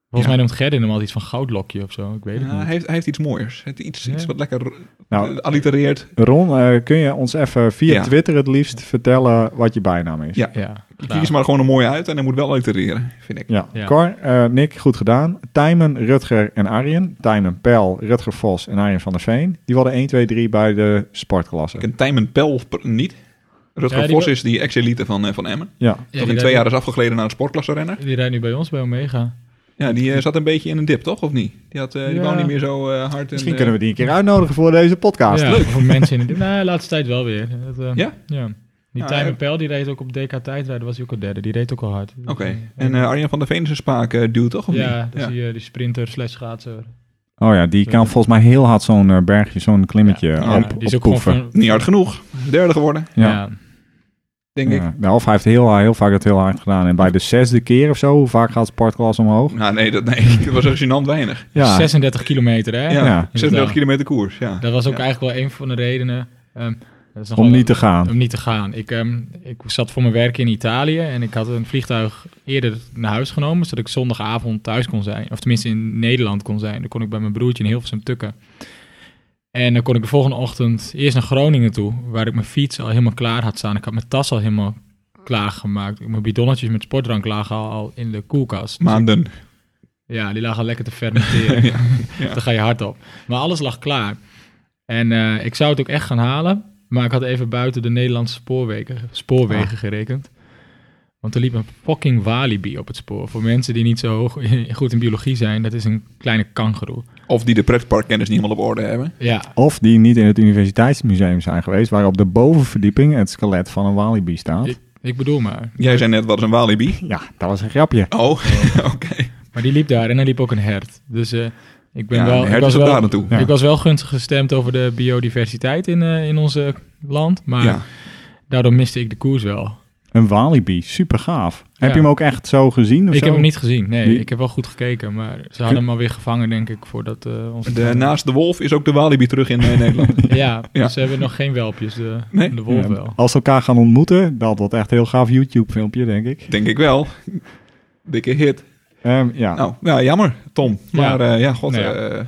[SPEAKER 3] Volgens
[SPEAKER 2] Ja.
[SPEAKER 3] mij noemt Gerden hem altijd iets van goudlokje of zo. Ik weet het
[SPEAKER 2] Ja,
[SPEAKER 3] niet.
[SPEAKER 2] hij, heeft, hij heeft iets mooiers. Het, iets, iets
[SPEAKER 3] Ja.
[SPEAKER 2] wat lekker
[SPEAKER 1] Nou,
[SPEAKER 2] eh, allitereert.
[SPEAKER 1] Ron, eh, kun je ons even via
[SPEAKER 2] Ja.
[SPEAKER 1] Twitter het liefst vertellen wat je bijnaam is?
[SPEAKER 2] Ja.
[SPEAKER 3] Ja,
[SPEAKER 2] Kies maar gewoon een mooie uit en hij moet wel allitereren, vind ik.
[SPEAKER 1] Ja.
[SPEAKER 3] Ja.
[SPEAKER 1] Cor, eh, Nick, goed gedaan. Tijmen, Rutger en Arjen. Tijmen, Pel, Rutger Vos en Arjen van der Veen. Die worden 1, 2, 3 bij de sportklasse.
[SPEAKER 2] Ik ken Tijmen Pel per- niet. Rutger
[SPEAKER 3] Ja, die
[SPEAKER 2] Vos
[SPEAKER 3] wel-
[SPEAKER 2] is die ex-elite van, eh, van Emmen.
[SPEAKER 1] Ja.
[SPEAKER 2] dat in twee jaar is afgegleden naar een sportklasse renner.
[SPEAKER 3] Die rijdt nu bij ons, bij Omega.
[SPEAKER 2] Ja, die eh, zat een beetje in een dip, toch? Of niet? Die, had, eh, die
[SPEAKER 3] Ja.
[SPEAKER 2] wou niet meer zo eh, hard. en,
[SPEAKER 1] Misschien
[SPEAKER 2] eh,
[SPEAKER 1] kunnen we die een keer uitnodigen voor deze podcast.
[SPEAKER 3] ja,
[SPEAKER 2] Ah, leuk.
[SPEAKER 3] Voor mensen in de... Nou, de laatste tijd wel weer. Dat, eh,
[SPEAKER 2] Ja?
[SPEAKER 3] Ja. Die
[SPEAKER 2] Ja,
[SPEAKER 3] Time
[SPEAKER 2] hij-
[SPEAKER 3] Pijl, die reed ook op DK tijdrijden, was hij ook al derde. Die reed ook al hard.
[SPEAKER 2] Oké. En eh, Arjen van der Veen is een spaak eh, duwt, toch? Of
[SPEAKER 3] ja,
[SPEAKER 2] niet?
[SPEAKER 3] dat is die, eh, die sprinter slash schaatser.
[SPEAKER 1] Oh ja, die kan
[SPEAKER 3] Ja.
[SPEAKER 1] volgens mij heel hard zo'n eh, bergje, zo'n klimmetje
[SPEAKER 2] Ja,
[SPEAKER 1] op,
[SPEAKER 3] Ja, die is ook
[SPEAKER 1] op
[SPEAKER 3] gewoon
[SPEAKER 1] koeven.
[SPEAKER 3] van...
[SPEAKER 2] Niet hard genoeg. Derde geworden,
[SPEAKER 1] Ja.
[SPEAKER 3] ja.
[SPEAKER 2] denk ik.
[SPEAKER 1] Ja. Nou, of hij heeft heel, heel vaak het heel hard gedaan. En bij de zesde keer of zo, hoe vaak gaat sportklas omhoog?
[SPEAKER 2] Nou, nee, dat, nee, dat was echt gênant weinig.
[SPEAKER 1] Ja,
[SPEAKER 3] 36 kilometer, hè?
[SPEAKER 2] Ja,
[SPEAKER 1] Ja.
[SPEAKER 2] 36 kilometer koers, ja.
[SPEAKER 3] Dat was ook
[SPEAKER 2] Ja.
[SPEAKER 3] eigenlijk wel een van de redenen ehm, dat is nog
[SPEAKER 1] om
[SPEAKER 3] wel-
[SPEAKER 1] niet te gaan.
[SPEAKER 3] om niet te gaan. Ik, ehm, ik zat voor mijn werk in Italië en ik had een vliegtuig eerder naar huis genomen, zodat ik zondagavond thuis kon zijn. Of tenminste in Nederland kon zijn. Dan kon ik bij mijn broertje in Hilversum tukken. En dan kon ik de volgende ochtend eerst naar Groningen toe, waar ik mijn fiets al helemaal klaar had staan. Ik had mijn tas al helemaal klaargemaakt. Mijn bidonnetjes met sportdrank lagen al, al in de koelkast. Dus
[SPEAKER 2] Maanden.
[SPEAKER 3] ja, die lagen al lekker te fermenteren.
[SPEAKER 2] Ja,
[SPEAKER 3] Dan ga je hard op. Maar alles lag klaar. En eh, ik zou het ook echt gaan halen. Maar ik had even buiten de Nederlandse spoorwegen, spoorwegen
[SPEAKER 2] Ah.
[SPEAKER 3] gerekend. Want er liep een fucking walibi op het spoor. Voor mensen die niet zo hoog, goed in biologie zijn, dat is een kleine kangeroe.
[SPEAKER 2] Of die de pretparkkennis niet helemaal op orde hebben.
[SPEAKER 3] Ja,
[SPEAKER 1] Of die niet in het universiteitsmuseum zijn geweest, waar op de bovenverdieping het skelet van een walibi staat.
[SPEAKER 3] ik, ik bedoel maar.
[SPEAKER 2] Jij zei net, wat is een walibi?
[SPEAKER 1] Ja, dat was een grapje.
[SPEAKER 2] Oh, oké.
[SPEAKER 3] Maar die liep daar en er liep ook een hert. Dus eh, ik ben
[SPEAKER 2] Ja,
[SPEAKER 3] wel...
[SPEAKER 2] een
[SPEAKER 3] ik
[SPEAKER 2] hert
[SPEAKER 3] was
[SPEAKER 2] is ook
[SPEAKER 3] wel,
[SPEAKER 2] daar naartoe.
[SPEAKER 1] Ja.
[SPEAKER 3] Ik was wel gunstig gestemd over de biodiversiteit in, eh, in ons eh, land. Maar
[SPEAKER 2] Ja.
[SPEAKER 3] daardoor miste ik de koers wel.
[SPEAKER 1] Een walibi, super gaaf. Heb
[SPEAKER 3] Ja.
[SPEAKER 1] je hem ook echt zo gezien? Of
[SPEAKER 3] Ik
[SPEAKER 1] zo?
[SPEAKER 3] heb hem niet gezien. Nee,
[SPEAKER 1] Die-
[SPEAKER 3] ik heb wel goed gekeken, maar ze hadden hem alweer gevangen, denk ik, voordat eh onze.
[SPEAKER 2] De, naast de wolf is ook de walibi terug in eh, Nederland.
[SPEAKER 3] ja,
[SPEAKER 2] Ja.
[SPEAKER 3] ze hebben nog geen welpjes. De,
[SPEAKER 2] Nee?
[SPEAKER 3] de
[SPEAKER 1] Ja,
[SPEAKER 3] wolf wel.
[SPEAKER 1] Als ze elkaar gaan ontmoeten, dat wordt echt een heel gaaf YouTube-filmpje, denk ik.
[SPEAKER 2] Denk ik wel. Dikke hit.
[SPEAKER 1] Ehm, ja.
[SPEAKER 2] Nou, ja, jammer, Tom. Maar eh, ja, god.
[SPEAKER 3] Nou ja.
[SPEAKER 2] eh, eh,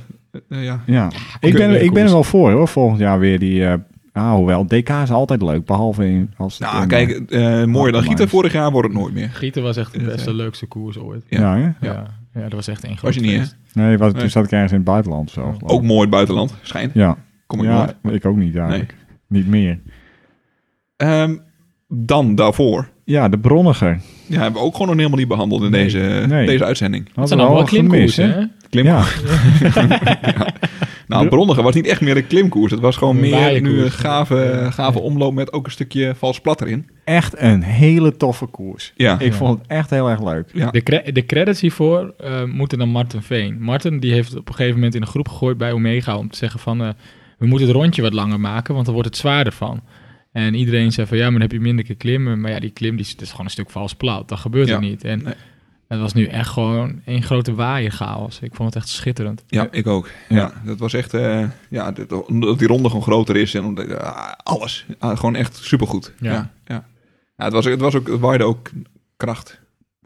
[SPEAKER 2] eh, ja.
[SPEAKER 1] ja. Ik,
[SPEAKER 3] Keurig
[SPEAKER 1] ben, ik ben
[SPEAKER 3] koers.
[SPEAKER 1] er wel voor hoor, volgend jaar weer die... eh, ah, hoewel, DK is altijd leuk, behalve in, als... het
[SPEAKER 2] Nou,
[SPEAKER 1] in,
[SPEAKER 2] kijk,
[SPEAKER 1] eh,
[SPEAKER 2] eh mooier dan
[SPEAKER 1] Mark
[SPEAKER 2] Gieten
[SPEAKER 1] Lines.
[SPEAKER 2] vorig jaar wordt het nooit meer.
[SPEAKER 3] Gieten was echt de
[SPEAKER 2] Ja,
[SPEAKER 3] beste,
[SPEAKER 2] ja.
[SPEAKER 3] leukste koers ooit.
[SPEAKER 2] ja.
[SPEAKER 1] Ja, hè?
[SPEAKER 2] Ja.
[SPEAKER 3] Ja. ja. dat was echt een groot
[SPEAKER 2] Was je niet, hè?
[SPEAKER 3] feest.
[SPEAKER 1] Nee, was,
[SPEAKER 2] Nee.
[SPEAKER 1] toen zat ik ergens in het buitenland of zo. geloof ik.
[SPEAKER 2] Ook mooi het buitenland, schijnt.
[SPEAKER 1] Ja,
[SPEAKER 2] Kom ik
[SPEAKER 1] Oh. ja
[SPEAKER 2] nooit.
[SPEAKER 1] maar ik ook niet eigenlijk. Niet meer.
[SPEAKER 2] Ehm, dan daarvoor.
[SPEAKER 1] Ja, de Bronniger.
[SPEAKER 2] Ja, hebben we ook gewoon nog helemaal niet behandeld in deze,
[SPEAKER 1] Nee.
[SPEAKER 2] deze uitzending.
[SPEAKER 3] Dat
[SPEAKER 1] Had
[SPEAKER 3] zijn allemaal
[SPEAKER 1] gemist,
[SPEAKER 3] klimkoersen, hè?
[SPEAKER 2] Klim.
[SPEAKER 1] Ja,
[SPEAKER 2] Nou, Bronnige was niet echt meer een klimkoers. Het was gewoon
[SPEAKER 3] Een
[SPEAKER 2] meer
[SPEAKER 3] waaierkoers.
[SPEAKER 2] nu een gave,
[SPEAKER 3] Ja.
[SPEAKER 2] gave omloop met ook een stukje vals plat erin.
[SPEAKER 1] echt een hele toffe koers.
[SPEAKER 2] Ja.
[SPEAKER 1] Ik
[SPEAKER 3] Ja.
[SPEAKER 1] vond het echt heel erg leuk.
[SPEAKER 2] Ja.
[SPEAKER 3] De, cre- de credits hiervoor eh, moeten dan Martin Veen. Martin die heeft op een gegeven moment in de groep gegooid bij Omega om te zeggen van eh, we moeten het rondje wat langer maken, want dan wordt het zwaarder van. En iedereen zei van ja, maar dan heb je minder keer klimmen. Maar ja, die klim die is, het is gewoon een stuk vals plat. Dat gebeurt
[SPEAKER 2] Ja.
[SPEAKER 3] er niet. En
[SPEAKER 2] Nee.
[SPEAKER 3] het was nu echt gewoon één grote waaierchaos. Ik vond het echt schitterend.
[SPEAKER 2] Ja, ik ook. Ja, dat was echt... eh, ja, dit- omdat die ronde gewoon groter is. En omdat, ah, alles. Ah, gewoon echt supergoed. Ja.
[SPEAKER 3] Ja.
[SPEAKER 2] Ja, ja. het, was, het was ook... Het waaide ook kracht.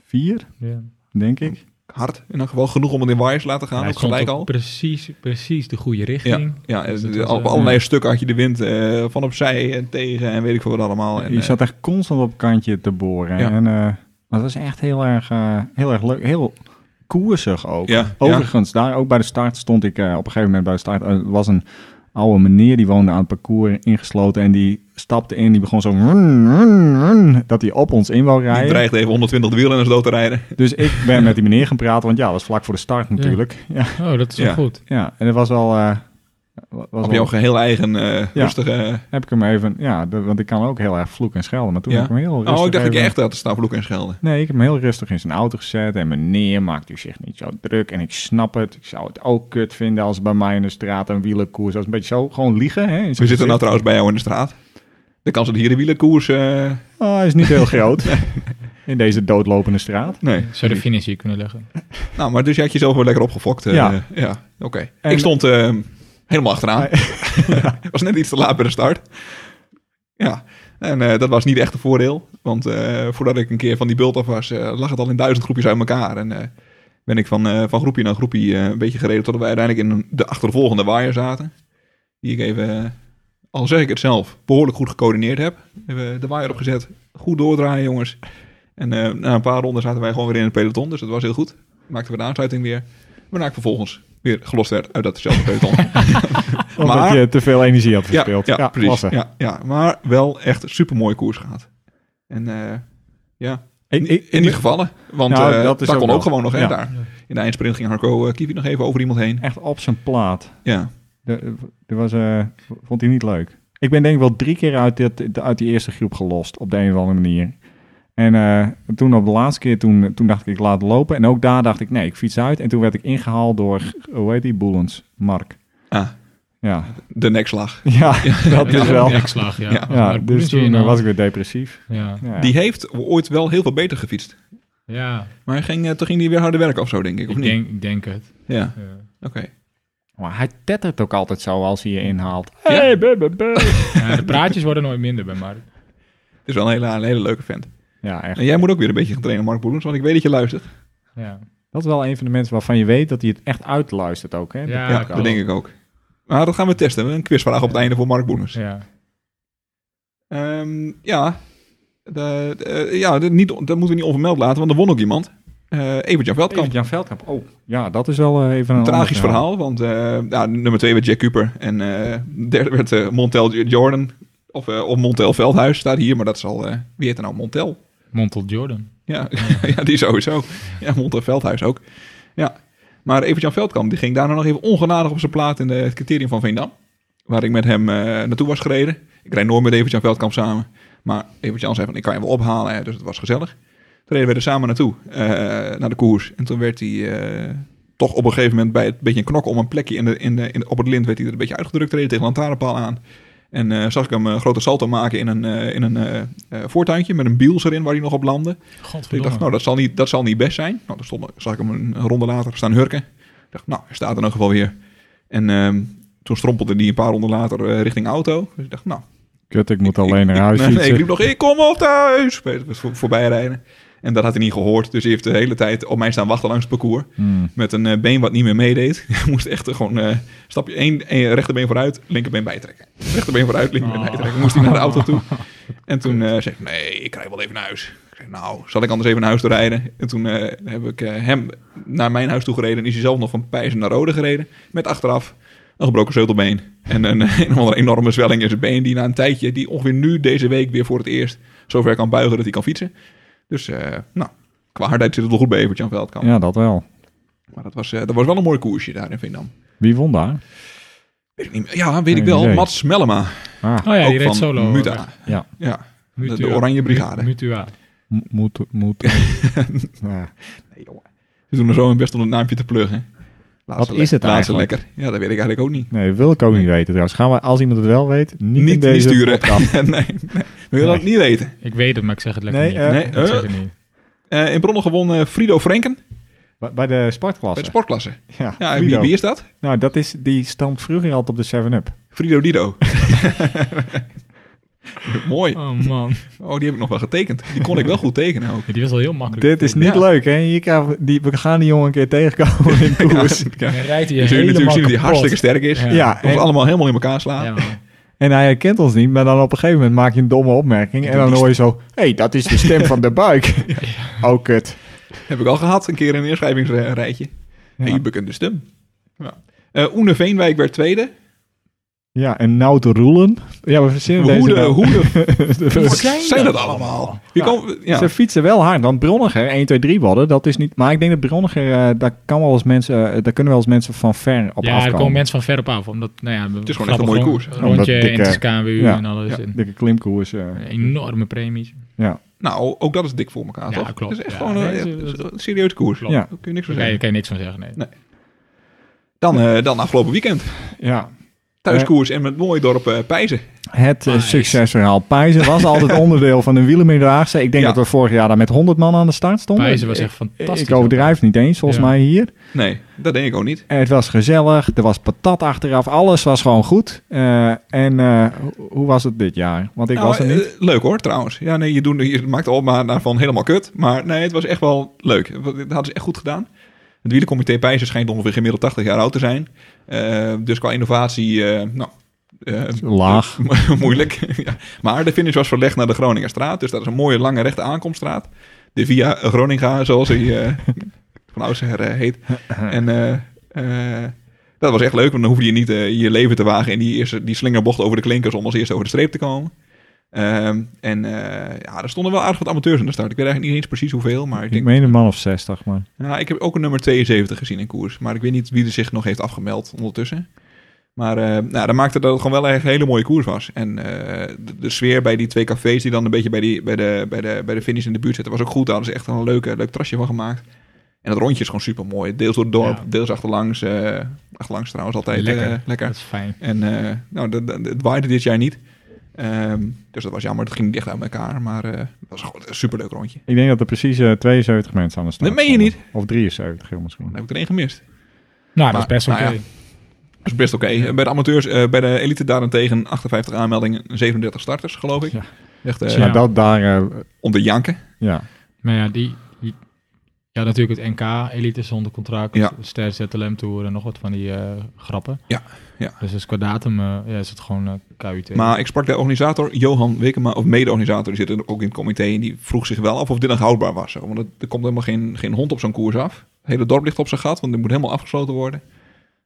[SPEAKER 1] Vier,
[SPEAKER 3] Ja.
[SPEAKER 1] denk ik.
[SPEAKER 2] Hard in elk geval. Genoeg om het in waaiers te laten gaan.
[SPEAKER 3] Hij
[SPEAKER 2] ook
[SPEAKER 3] stond
[SPEAKER 2] gelijk
[SPEAKER 3] ook
[SPEAKER 2] al.
[SPEAKER 3] Precies, precies de goede richting.
[SPEAKER 2] Ja,
[SPEAKER 3] Dus
[SPEAKER 2] het-
[SPEAKER 3] dat was,
[SPEAKER 2] op
[SPEAKER 3] eh,
[SPEAKER 2] allerlei stukken had je de wind eh, van opzij en tegen en weet ik veel wat allemaal. En,
[SPEAKER 1] Je
[SPEAKER 2] eh,
[SPEAKER 1] zat echt constant op het kantje te boren.
[SPEAKER 2] Ja.
[SPEAKER 1] En, eh, maar het was echt heel erg, eh, heel erg leuk. Heel koersig ook.
[SPEAKER 2] ja, ja,
[SPEAKER 1] Overigens, daar ook bij de start stond ik eh, op een gegeven moment bij de start. Er was een oude meneer die woonde aan het parcours ingesloten. En die stapte in. Die begon zo. "Wrn, wrn, wrn," dat hij op ons in wou
[SPEAKER 2] die
[SPEAKER 1] rijden.
[SPEAKER 2] dreigde even 120 de wielrenners dood te rijden.
[SPEAKER 1] Dus ik ben met die meneer gaan praten. Want ja, dat was vlak voor de start natuurlijk. Ja,
[SPEAKER 3] Oh, dat is wel
[SPEAKER 2] Ja.
[SPEAKER 3] goed.
[SPEAKER 1] ja. en het was wel. eh, was
[SPEAKER 2] Op
[SPEAKER 1] wel-
[SPEAKER 2] jouw geheel eigen eh, rustige...
[SPEAKER 1] heb ik hem even. Ja, de- want ik kan ook heel erg vloeken en schelden. Maar toen
[SPEAKER 2] Ja.
[SPEAKER 1] heb ik hem heel rustig.
[SPEAKER 2] Oh, ik dacht dat je
[SPEAKER 1] even-
[SPEAKER 2] echt had de stapelhoek en schelden.
[SPEAKER 1] Nee, ik heb hem heel rustig in zijn auto gezet. En meneer maakt u zich niet zo druk. En ik snap het. Ik zou het ook kut vinden als bij mij in de straat een wielenkoers. Dat is een beetje zo. Gewoon liegen. Hè, in
[SPEAKER 2] We
[SPEAKER 1] zijn
[SPEAKER 2] zitten nou
[SPEAKER 1] gezicht.
[SPEAKER 2] trouwens bij jou in de straat. De kans dat hier de wielenkoers... eh,
[SPEAKER 1] Ah, is niet heel groot. in deze doodlopende straat.
[SPEAKER 2] nee.
[SPEAKER 3] Zou de finish hier kunnen leggen.
[SPEAKER 2] Nou, maar dus je had jezelf wel lekker opgefokt. eh, ja.
[SPEAKER 1] Ja.
[SPEAKER 2] oké.
[SPEAKER 1] En-
[SPEAKER 2] Ik stond eh, helemaal achteraan. was net iets te laat bij de start. Ja, en eh, dat was niet echt een voordeel. Want eh, voordat ik een keer van die bult af was, eh, lag het al in duizend groepjes uit elkaar. En eh, ben ik van, eh, van groepje naar groepje eh, een beetje gereden totdat we uiteindelijk in de achtervolgende waaier zaten. Die ik even, eh, al zeg ik het zelf, behoorlijk goed gecoördineerd heb. Even de waaier opgezet. Goed doordraaien, jongens. En eh, na een paar ronden zaten wij gewoon weer in het peloton. Dus dat was heel goed. Maakten we de aansluiting weer. Waarna nou, ik vervolgens weer gelost werd uit datzelfde peloton.
[SPEAKER 1] Omdat
[SPEAKER 2] Maar-
[SPEAKER 1] je te veel energie had
[SPEAKER 2] ja,
[SPEAKER 1] verspeeld.
[SPEAKER 2] ja, precies.
[SPEAKER 1] klasse.
[SPEAKER 2] Ja, ja, maar wel echt een supermooie koers gehad. En eh, ja,
[SPEAKER 1] Ik, ik,
[SPEAKER 2] in die gevallen. Want
[SPEAKER 1] Nou,
[SPEAKER 2] eh, dat,
[SPEAKER 1] dat is ook
[SPEAKER 2] kon
[SPEAKER 1] wel.
[SPEAKER 2] ook gewoon nog. hè,
[SPEAKER 1] Ja.
[SPEAKER 2] daar. In de eindsprint ging Harco eh, Kivi nog even over iemand heen.
[SPEAKER 1] echt op zijn plaat.
[SPEAKER 2] Ja,
[SPEAKER 1] De- de was, eh, vond hij niet leuk. Ik ben denk ik wel drie keer uit, dit, uit die eerste groep gelost. Op de een of andere manier. En eh, toen op de laatste keer, toen, toen dacht ik, ik laat lopen. En ook daar dacht ik, nee, ik fiets uit. En toen werd ik ingehaald door, hoe heet die, Boelens, Mark.
[SPEAKER 2] Ah.
[SPEAKER 1] Ja,
[SPEAKER 2] de nekslag.
[SPEAKER 1] ja, dat is wel. Ja,
[SPEAKER 3] Ja, slag, ja. nou,
[SPEAKER 2] Ja.
[SPEAKER 1] dus toen eh, was ik weer depressief.
[SPEAKER 3] Ja.
[SPEAKER 1] Ja.
[SPEAKER 2] Die heeft ooit wel heel veel beter gefietst.
[SPEAKER 3] ja.
[SPEAKER 2] Maar hij ging, eh, toen ging hij weer harder werken of zo, denk ik. Of
[SPEAKER 3] Ik,
[SPEAKER 2] niet?
[SPEAKER 3] denk, ik denk het.
[SPEAKER 2] Ja,
[SPEAKER 3] Ja.
[SPEAKER 2] oké.
[SPEAKER 1] Maar hij tettert ook altijd zo als hij je inhaalt.
[SPEAKER 2] Ja.
[SPEAKER 1] Hey, be, be, be.
[SPEAKER 3] Ja, de praatjes worden nooit minder bij Mark.
[SPEAKER 2] Het is wel een hele, een hele leuke vent.
[SPEAKER 1] ja, echt.
[SPEAKER 2] En jij moet ook weer een beetje gaan trainen, Mark Boelens. Want ik weet dat je luistert.
[SPEAKER 3] Ja.
[SPEAKER 1] Dat is wel een van de mensen waarvan je weet dat hij het echt uitluistert ook. Hè?
[SPEAKER 3] Ja.
[SPEAKER 2] Ja,
[SPEAKER 3] klopt.
[SPEAKER 2] dat denk ik ook. Maar dat gaan we testen. Een quizvraag op het einde voor Mark Boelens.
[SPEAKER 3] Ja.
[SPEAKER 2] Ehm, ja, De, de, eh, ja, de- niet, dat moeten we niet onvermeld laten, want er won ook iemand. Eh Evert-Jan Veldkamp.
[SPEAKER 1] Jan Veldkamp. Oh, ja, dat is wel eh, even een
[SPEAKER 2] Een
[SPEAKER 1] ander
[SPEAKER 2] tragisch verhaal, want eh, ja, nummer twee werd Jack Cooper. En eh, derde werd eh, Montel Jordan. Of, eh, of Montel Veldhuis staat hier, maar dat is al... eh, wie heet er nou Montel?
[SPEAKER 3] Montel Jordan.
[SPEAKER 2] Ja, ja die sowieso. Ja, Montel Veldhuis ook. Ja. Maar Evert-Jan Veldkamp, die ging daarna nog even ongenadig op zijn plaat in de, het criterium van Veendam. Waar ik met hem eh, naartoe was gereden. Ik rijd nooit met Evert-Jan Veldkamp samen. Maar Evert-Jan zei van, ik kan je wel ophalen. Hè, dus het was gezellig. Toen reden we er samen naartoe, eh, naar de koers. En toen werd hij eh, toch op een gegeven moment bij het beetje een knok om een plekje in de, in de, in, op het lint... werd hij er een beetje uitgedrukt, reden tegen een lantaarnpaal aan. En eh, zag ik hem een grote salto maken in een, eh, in een eh, eh, voortuintje met een biels erin waar hij nog op landde. Dus ik dacht, nou, dat zal niet, dat zal niet best zijn. Nou, dan stond, zag ik hem een ronde later staan hurken. Ik dacht, nou, hij staat in elk geval weer. En ehm, toen strompelde hij een paar ronden later eh, richting auto. Dus ik dacht, nou...
[SPEAKER 1] Kut, ik moet alleen naar huis
[SPEAKER 2] nee, ik
[SPEAKER 1] fietsen.
[SPEAKER 2] riep nog, ik kom op thuis! Weet je, Voor, voorbij rijden. En dat had hij niet gehoord. Dus hij heeft de hele tijd op mij staan wachten langs het parcours.
[SPEAKER 1] Hmm.
[SPEAKER 2] Met een eh, been wat niet meer meedeed. Hij moest echt eh, gewoon eh, stapje één, één rechterbeen vooruit, linkerbeen bijtrekken. Rechterbeen vooruit, linkerbeen
[SPEAKER 3] Oh.
[SPEAKER 2] bijtrekken. Moest hij naar de auto toe. En toen eh, zei ik, nee, ik rij wel even naar huis. Ik zei, nou, zal ik anders even naar huis toe rijden? En toen eh, heb ik eh, hem naar mijn huis toe gereden. En is hij zelf nog van Pijzen naar Rode gereden. Met achteraf een gebroken sleutelbeen. En een, een andere enorme zwelling in zijn been. Die na een tijdje, die ongeveer nu deze week weer voor het eerst zover kan buigen dat hij kan fietsen. Dus, eh, nou, qua hardheid zit het wel goed bij Evert-Jan Veldkamp.
[SPEAKER 1] Ja, dat wel.
[SPEAKER 2] Maar dat was, eh, dat was wel een mooi koersje daar in Vindam.
[SPEAKER 1] Wie won daar?
[SPEAKER 2] Weet ik niet meer. Ja, weet ik
[SPEAKER 1] Geen
[SPEAKER 2] wel.
[SPEAKER 1] idee.
[SPEAKER 2] Mats Mellema.
[SPEAKER 1] Ah,
[SPEAKER 3] Oh ja,
[SPEAKER 2] ook
[SPEAKER 3] die
[SPEAKER 2] van
[SPEAKER 3] reed solo.
[SPEAKER 2] Muta.
[SPEAKER 1] ja.
[SPEAKER 2] Ja.
[SPEAKER 3] Mutua.
[SPEAKER 2] de Oranje Brigade.
[SPEAKER 3] Mu- Mutua.
[SPEAKER 1] M- Moet, moet. ja.
[SPEAKER 2] Nee, jongen. Ze doen er zo hun best om het naampje te pluggen. Laat
[SPEAKER 1] Wat
[SPEAKER 2] ze
[SPEAKER 1] is
[SPEAKER 2] lekker-
[SPEAKER 1] het
[SPEAKER 2] laat ze
[SPEAKER 1] eigenlijk?
[SPEAKER 2] lekker. Ja, dat weet ik eigenlijk ook niet.
[SPEAKER 1] Nee, wil ik ook niet weten trouwens. Gaan we, als iemand het wel weet, niet, in
[SPEAKER 2] Niet, niet
[SPEAKER 1] deze
[SPEAKER 2] sturen.
[SPEAKER 1] podcast.
[SPEAKER 2] nee, nee. We willen het niet weten.
[SPEAKER 3] Ik weet het, maar ik zeg het lekker
[SPEAKER 1] Nee,
[SPEAKER 3] niet.
[SPEAKER 1] eh,
[SPEAKER 2] nee,
[SPEAKER 3] ik
[SPEAKER 2] eh.
[SPEAKER 3] zeg het niet.
[SPEAKER 2] Eh, in Bronnen gewon eh, Frido Frenken
[SPEAKER 1] Bij- Bij de
[SPEAKER 2] bij
[SPEAKER 1] sportklasse.
[SPEAKER 2] de sportklasse.
[SPEAKER 1] ja,
[SPEAKER 2] Ja, en wie,
[SPEAKER 1] Frido.
[SPEAKER 2] wie is dat?
[SPEAKER 1] Nou, dat is, die stamt vroeger altijd op de 7-Up.
[SPEAKER 2] Frido Dido. Mooi.
[SPEAKER 3] Oh man,
[SPEAKER 2] Oh, die heb ik nog wel getekend. Die kon ik wel goed tekenen ook.
[SPEAKER 3] Ja, die was wel heel makkelijk.
[SPEAKER 1] Dit is niet
[SPEAKER 2] Ja.
[SPEAKER 1] leuk, hè? Je krijgt die, we gaan die jongen een keer tegenkomen in de koers.
[SPEAKER 2] Ja,
[SPEAKER 3] Dan rijdt hij
[SPEAKER 2] Je zult natuurlijk
[SPEAKER 3] helemaal
[SPEAKER 2] zien dat hij
[SPEAKER 3] kapot.
[SPEAKER 2] hartstikke sterk is.
[SPEAKER 3] Ja.
[SPEAKER 2] Ja.
[SPEAKER 1] Ja,
[SPEAKER 2] Of
[SPEAKER 1] en,
[SPEAKER 2] allemaal helemaal in elkaar slaan.
[SPEAKER 3] Ja, man.
[SPEAKER 1] en hij herkent ons niet, maar dan op een gegeven moment maak je een domme opmerking. En dan hoor je zo, hé, hey, dat is de stem van de buik. Oh, kut.
[SPEAKER 2] Heb ik al gehad, een keer in een inschrijvingsrijtje.
[SPEAKER 1] Ja.
[SPEAKER 2] Hey, bekende stem. Ja. Eh, Oene Veenwijk werd tweede.
[SPEAKER 1] Ja, en nou te roelen. Ja, we verzinnen
[SPEAKER 2] Hoe
[SPEAKER 1] deze
[SPEAKER 2] de,
[SPEAKER 1] nou.
[SPEAKER 2] hoe de
[SPEAKER 1] De-
[SPEAKER 2] Wat zijn, dat allemaal? Wie
[SPEAKER 1] Ja.
[SPEAKER 2] komen- ja.
[SPEAKER 1] Ze fietsen wel hard. Dan Bronniger, 1, 2, 3 worden, dat is niet... Maar ik denk dat Bronniger, eh, daar, kan wel eens mensen, eh, daar kunnen wel eens mensen van ver op
[SPEAKER 3] ja, er
[SPEAKER 1] afkomen.
[SPEAKER 3] komen mensen van ver op af. Omdat, nou ja, het
[SPEAKER 2] is gewoon echt een mooie koers.
[SPEAKER 1] Omdat
[SPEAKER 3] Rondje
[SPEAKER 1] dikke-
[SPEAKER 3] in de KMU
[SPEAKER 1] ja.
[SPEAKER 3] en alles.
[SPEAKER 2] Ja.
[SPEAKER 3] En
[SPEAKER 1] Dikke klimkoers. eh.
[SPEAKER 3] enorme premies.
[SPEAKER 2] Nou, ook dat is dik voor elkaar,
[SPEAKER 3] Ja,
[SPEAKER 2] toch?
[SPEAKER 3] klopt.
[SPEAKER 2] Het is echt
[SPEAKER 3] Ja,
[SPEAKER 2] gewoon
[SPEAKER 3] nee,
[SPEAKER 2] een,
[SPEAKER 3] het is-
[SPEAKER 2] het is een serieuze koers.
[SPEAKER 3] Klopt.
[SPEAKER 1] Ja.
[SPEAKER 2] Daar kun je niks van
[SPEAKER 3] Daar kan je-
[SPEAKER 2] zeggen.
[SPEAKER 3] kan je niks van zeggen, nee.
[SPEAKER 2] Dan, eh, dan afgelopen weekend.
[SPEAKER 1] Ja.
[SPEAKER 2] Thuiskoers en met mooi dorp eh, Pijzen.
[SPEAKER 1] Het eh,
[SPEAKER 3] Pijs.
[SPEAKER 1] succesverhaal Pijzen was altijd onderdeel van een wielermiddaagse. Ik denk
[SPEAKER 2] Ja.
[SPEAKER 1] dat we vorig jaar daar met 100 man aan de start stonden.
[SPEAKER 3] Pijzen was echt
[SPEAKER 1] Ik-
[SPEAKER 3] fantastisch.
[SPEAKER 1] Ik overdrijf niet eens, volgens
[SPEAKER 3] Ja.
[SPEAKER 1] mij hier.
[SPEAKER 2] Nee, dat denk ik ook niet.
[SPEAKER 1] Het was gezellig, er was patat achteraf, alles was gewoon goed. Eh, en eh, ho- hoe was het dit jaar? Want ik
[SPEAKER 2] Nou,
[SPEAKER 1] was er niet.
[SPEAKER 2] eh, leuk hoor, trouwens. Ja, nee, je, doet, je maakt de opmaat daarvan helemaal kut. Maar nee, het was echt wel leuk. Dat hadden ze echt goed gedaan. Het wielercomité Pijzen schijnt ongeveer gemiddeld 80 jaar oud te zijn. Eh, dus qua innovatie, eh, nou... eh,
[SPEAKER 1] Laag.
[SPEAKER 2] Mo- Moeilijk. ja. Maar de finish was verlegd naar de Groningerstraat. Dus dat is een mooie lange rechte aankomststraat. De Via Groninga, zoals hij eh, van oudsher eh, heet. En eh, eh, dat was echt leuk, want dan hoefde je niet eh, je leven te wagen in die, eerste, die slingerbocht over de klinkers om als eerste over de streep te komen. Ehm, en eh, ja, er stonden wel aardig wat amateurs aan de start. Ik weet eigenlijk niet eens precies hoeveel, maar ik
[SPEAKER 1] Ik
[SPEAKER 2] denk...
[SPEAKER 1] meen een man of 60, maar
[SPEAKER 2] Nou, ik heb ook een nummer 72 gezien in koers. Maar ik weet niet wie er zich nog heeft afgemeld ondertussen. Maar eh, nou, dat maakte dat het gewoon wel echt een hele mooie koers was. En eh, de, de sfeer bij die twee cafés die dan een beetje bij, die, bij, de, bij, de, bij de finish in de buurt zitten was ook goed. Daar hadden ze echt een leuke, leuk trasje van gemaakt. En het rondje is gewoon super mooi. Deels door het dorp,
[SPEAKER 3] Ja.
[SPEAKER 2] deels achterlangs. eh, achterlangs trouwens altijd eh,
[SPEAKER 3] Lekker.
[SPEAKER 2] lekker.
[SPEAKER 3] Dat is fijn.
[SPEAKER 2] En eh, nou, dat, dat- het waaide dit jaar niet. Ehm, dus dat was jammer. Dat ging niet echt uit elkaar. Maar eh, het was gewoon een superleuk rondje.
[SPEAKER 1] ik denk dat er precies eh, 72 mensen aan de start
[SPEAKER 2] Dat meen je
[SPEAKER 1] stonden. Of 73 heel
[SPEAKER 2] Dan
[SPEAKER 1] misschien.
[SPEAKER 2] heb ik er één gemist.
[SPEAKER 3] Nou, dat
[SPEAKER 2] Maar,
[SPEAKER 3] is best
[SPEAKER 2] nou
[SPEAKER 3] oké.
[SPEAKER 2] ja. Dat is best oké. Eh, Bij de amateurs, eh, bij de elite daarentegen 58 aanmeldingen, 37 starters, geloof ik.
[SPEAKER 1] Ja.
[SPEAKER 2] Echt eh,
[SPEAKER 1] Maar
[SPEAKER 3] Ja.
[SPEAKER 1] dat daar, eh,
[SPEAKER 2] om te janken.
[SPEAKER 1] ja.
[SPEAKER 3] Maar ja, die... die- Je had natuurlijk het NK, Elite zonder contract,
[SPEAKER 2] Ja.
[SPEAKER 3] Ster ZLM Tour en nog wat van die eh, grappen.
[SPEAKER 2] Ja, ja.
[SPEAKER 3] Dus, dus qua datum eh, ja, is het gewoon eh, KUT.
[SPEAKER 2] Maar ik sprak de organisator, Johan Wekema, of mede-organisator, die zit er ook in het comité. En die vroeg zich wel af of dit nog houdbaar was. zo. Want het- er komt helemaal geen, geen hond op zo'n koers af. Het hele dorp ligt op zijn gat, want het moet helemaal afgesloten worden.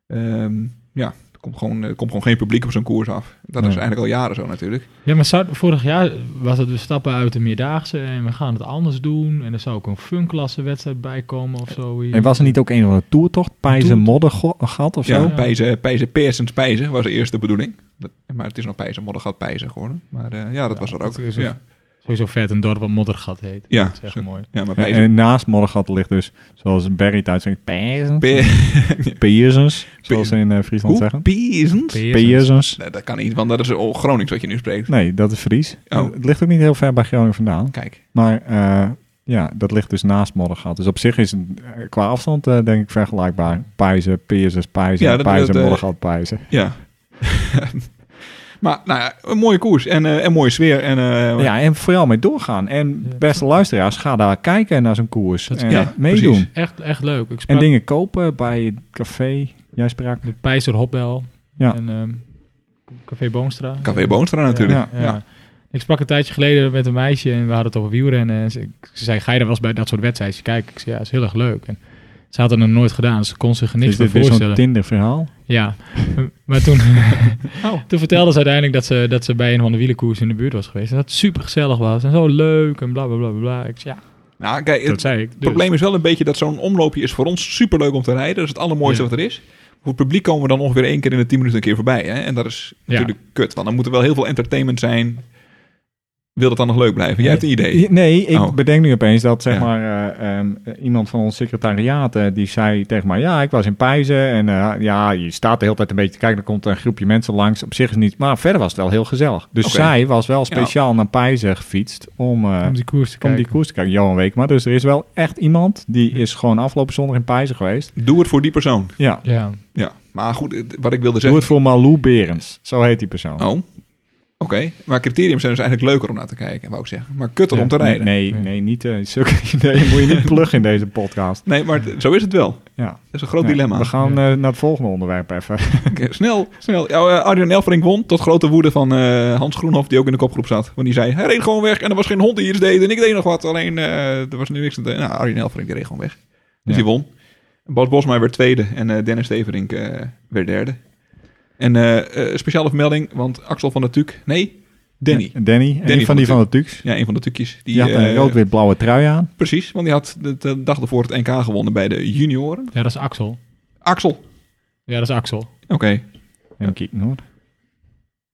[SPEAKER 2] Ehm, ja, er komt, gewoon, er komt gewoon geen publiek op zo'n koers af. Dat is
[SPEAKER 1] Nee.
[SPEAKER 2] eigenlijk al jaren zo natuurlijk.
[SPEAKER 3] Ja, maar zou- vorig jaar was het we stappen uit de Meerdaagse en we gaan het anders doen. En er zou ook een funklassewedstrijd bij komen of zoiets.
[SPEAKER 1] En was er niet ook een of andere toertocht? Pijzen
[SPEAKER 3] toertocht?
[SPEAKER 1] modder go- gat of zo?
[SPEAKER 2] Ja,
[SPEAKER 3] Ja.
[SPEAKER 2] pijzen, pijzen, persens, pijzen was de eerste bedoeling. Dat- maar het is nog pijzen, modder gaat pijzen geworden. Maar eh, ja, dat
[SPEAKER 3] Ja,
[SPEAKER 2] was er
[SPEAKER 3] dat
[SPEAKER 2] ook.
[SPEAKER 3] is een-
[SPEAKER 2] ja.
[SPEAKER 3] Sowieso vet een dorp wat Moddergat heet.
[SPEAKER 2] Ja,
[SPEAKER 3] Dat is echt
[SPEAKER 2] zo.
[SPEAKER 3] mooi.
[SPEAKER 2] ja, maar
[SPEAKER 1] Ja,
[SPEAKER 2] pijzen...
[SPEAKER 1] en naast moddergat ligt dus, zoals Barry thuis zegt, pijzen.
[SPEAKER 2] per-
[SPEAKER 1] Peersens, zoals ze in eh, Friesland
[SPEAKER 2] Hoe?
[SPEAKER 1] zeggen.
[SPEAKER 2] Peersens?
[SPEAKER 1] Peersens.
[SPEAKER 2] Nee, dat kan niet, want dat is al Gronings wat je nu spreekt.
[SPEAKER 1] Nee, dat is Fries.
[SPEAKER 2] Oh.
[SPEAKER 1] Het ligt ook niet heel ver bij Groningen vandaan.
[SPEAKER 2] Kijk.
[SPEAKER 1] Maar eh, ja, dat ligt dus naast moddergat. Dus op zich is het eh, qua afstand eh, denk ik vergelijkbaar. Pijzen, Peersens, Pijzen,
[SPEAKER 2] Ja, dat-
[SPEAKER 1] Pijzen,
[SPEAKER 2] dat, eh,
[SPEAKER 1] moddergat, Pijzen.
[SPEAKER 2] Ja. maar nou ja, een mooie koers en eh, een mooie sfeer. En, eh,
[SPEAKER 1] Ja, en vooral mee doorgaan. En
[SPEAKER 3] Ja.
[SPEAKER 1] beste luisteraars, ga daar kijken naar zo'n koers.
[SPEAKER 3] Dat-
[SPEAKER 1] En
[SPEAKER 2] ja,
[SPEAKER 1] meedoen.
[SPEAKER 2] precies.
[SPEAKER 3] Echt, echt leuk. Ik
[SPEAKER 1] En
[SPEAKER 3] sprak
[SPEAKER 1] dingen kopen bij het café. Jij sprak...
[SPEAKER 3] de Pijzer Hopbel
[SPEAKER 1] Ja.
[SPEAKER 3] en ehm, Café Boomstra.
[SPEAKER 2] Café Boonstra natuurlijk.
[SPEAKER 1] Ja,
[SPEAKER 3] Ja. Ik sprak een tijdje geleden met een meisje en we hadden het over wielrennen. En ze, ik- ze zei, ga je er wel eens bij dat soort wedstrijden kijken? Ik zei, ja, is heel erg leuk. En ze had het nog nooit gedaan, dus ze kon zich er niks
[SPEAKER 1] Is
[SPEAKER 3] meer
[SPEAKER 1] dit weer zo'n
[SPEAKER 3] voorstellen.
[SPEAKER 1] Tinder verhaal?
[SPEAKER 3] Ja, maar toen,
[SPEAKER 2] Oh.
[SPEAKER 3] toen vertelde ze uiteindelijk dat ze, dat ze bij een van de wielenkoers in de buurt was geweest. En dat het super gezellig was en zo leuk en bla bla bla bla, bla. Ik zei, ja,
[SPEAKER 2] Nou, kijk,
[SPEAKER 3] dat
[SPEAKER 2] het
[SPEAKER 3] zei ik. Dus.
[SPEAKER 2] probleem is wel een beetje dat zo'n omloopje is voor ons superleuk om te rijden. Dat is het allermooiste
[SPEAKER 3] Ja.
[SPEAKER 2] wat er is. Voor het publiek komen we dan ongeveer één keer in de tien minuten een keer voorbij. Hè? En dat is
[SPEAKER 3] Ja.
[SPEAKER 2] natuurlijk kut, want dan moet er wel heel veel entertainment zijn. Wil dat dan nog leuk blijven? Jij hebt een idee.
[SPEAKER 1] Ja, Nee, ik
[SPEAKER 2] Oh.
[SPEAKER 1] bedenk nu opeens dat zeg
[SPEAKER 2] Ja.
[SPEAKER 1] maar eh, ehm, eh, iemand van ons secretariaat eh, die zei tegen mij: Ja, ik was in Pijzen en eh, ja, je staat de hele tijd een beetje te kijken. Er komt een groepje mensen langs. Op zich is niet, maar verder was het wel heel gezellig. Dus
[SPEAKER 2] Oké.
[SPEAKER 1] zij was wel speciaal naar Pijzen gefietst om, eh,
[SPEAKER 3] Om die koers te
[SPEAKER 1] om
[SPEAKER 3] kijken.
[SPEAKER 1] die koers te kijken. Johan Weekma. Dus er is wel echt iemand die is gewoon afgelopen zondag in Pijzen geweest.
[SPEAKER 2] Doe het voor die persoon.
[SPEAKER 1] Ja.
[SPEAKER 3] Ja,
[SPEAKER 2] Ja, maar goed, het- wat ik wilde
[SPEAKER 1] Doe
[SPEAKER 2] zeggen...
[SPEAKER 1] het voor Malou Berends. Zo heet die persoon.
[SPEAKER 2] Oh, oké. Maar criteriums zijn dus eigenlijk leuker om naar te kijken, wou ik zeggen. Maar kutter
[SPEAKER 1] Ja,
[SPEAKER 2] om te rijden. Nee,
[SPEAKER 1] Nee, nee, niet. eh zulke ideeën moet je niet pluggen in deze podcast.
[SPEAKER 2] maar het- zo is het wel.
[SPEAKER 1] Ja.
[SPEAKER 2] Dat is een groot
[SPEAKER 1] Ja,
[SPEAKER 2] dilemma.
[SPEAKER 1] We gaan eh, naar het volgende onderwerp even.
[SPEAKER 2] Oké, snel, snel. Ja, eh, Arjen Elfrink won tot grote woede van eh, Hans Groenhoff, die ook in de kopgroep zat. Want die zei, hij reed gewoon weg en er was geen hond die iets deed en ik deed nog wat. Alleen, eh, er was nu niks aan te Nou, Arjen Elfrink die reed gewoon weg. Dus
[SPEAKER 1] Ja.
[SPEAKER 2] die won. Bas Bosma werd tweede en eh, Dennis Steverink eh, werd derde. En eh, eh, speciale vermelding, want Axel van der Tuuk... Nee, Danny. Ja,
[SPEAKER 1] Danny. Danny,
[SPEAKER 2] Danny
[SPEAKER 1] van
[SPEAKER 2] van
[SPEAKER 1] die
[SPEAKER 2] de
[SPEAKER 1] van de Tux.
[SPEAKER 2] een van de Tukjes. Die,
[SPEAKER 1] Die had een
[SPEAKER 2] eh,
[SPEAKER 1] rood-wit-blauwe trui aan.
[SPEAKER 2] Precies, want die had de, de dag ervoor het NK gewonnen bij de junioren.
[SPEAKER 3] ja, dat is Axel.
[SPEAKER 2] Axel.
[SPEAKER 3] Ja, dat is Axel.
[SPEAKER 2] Oké,
[SPEAKER 1] En kijk, hoor.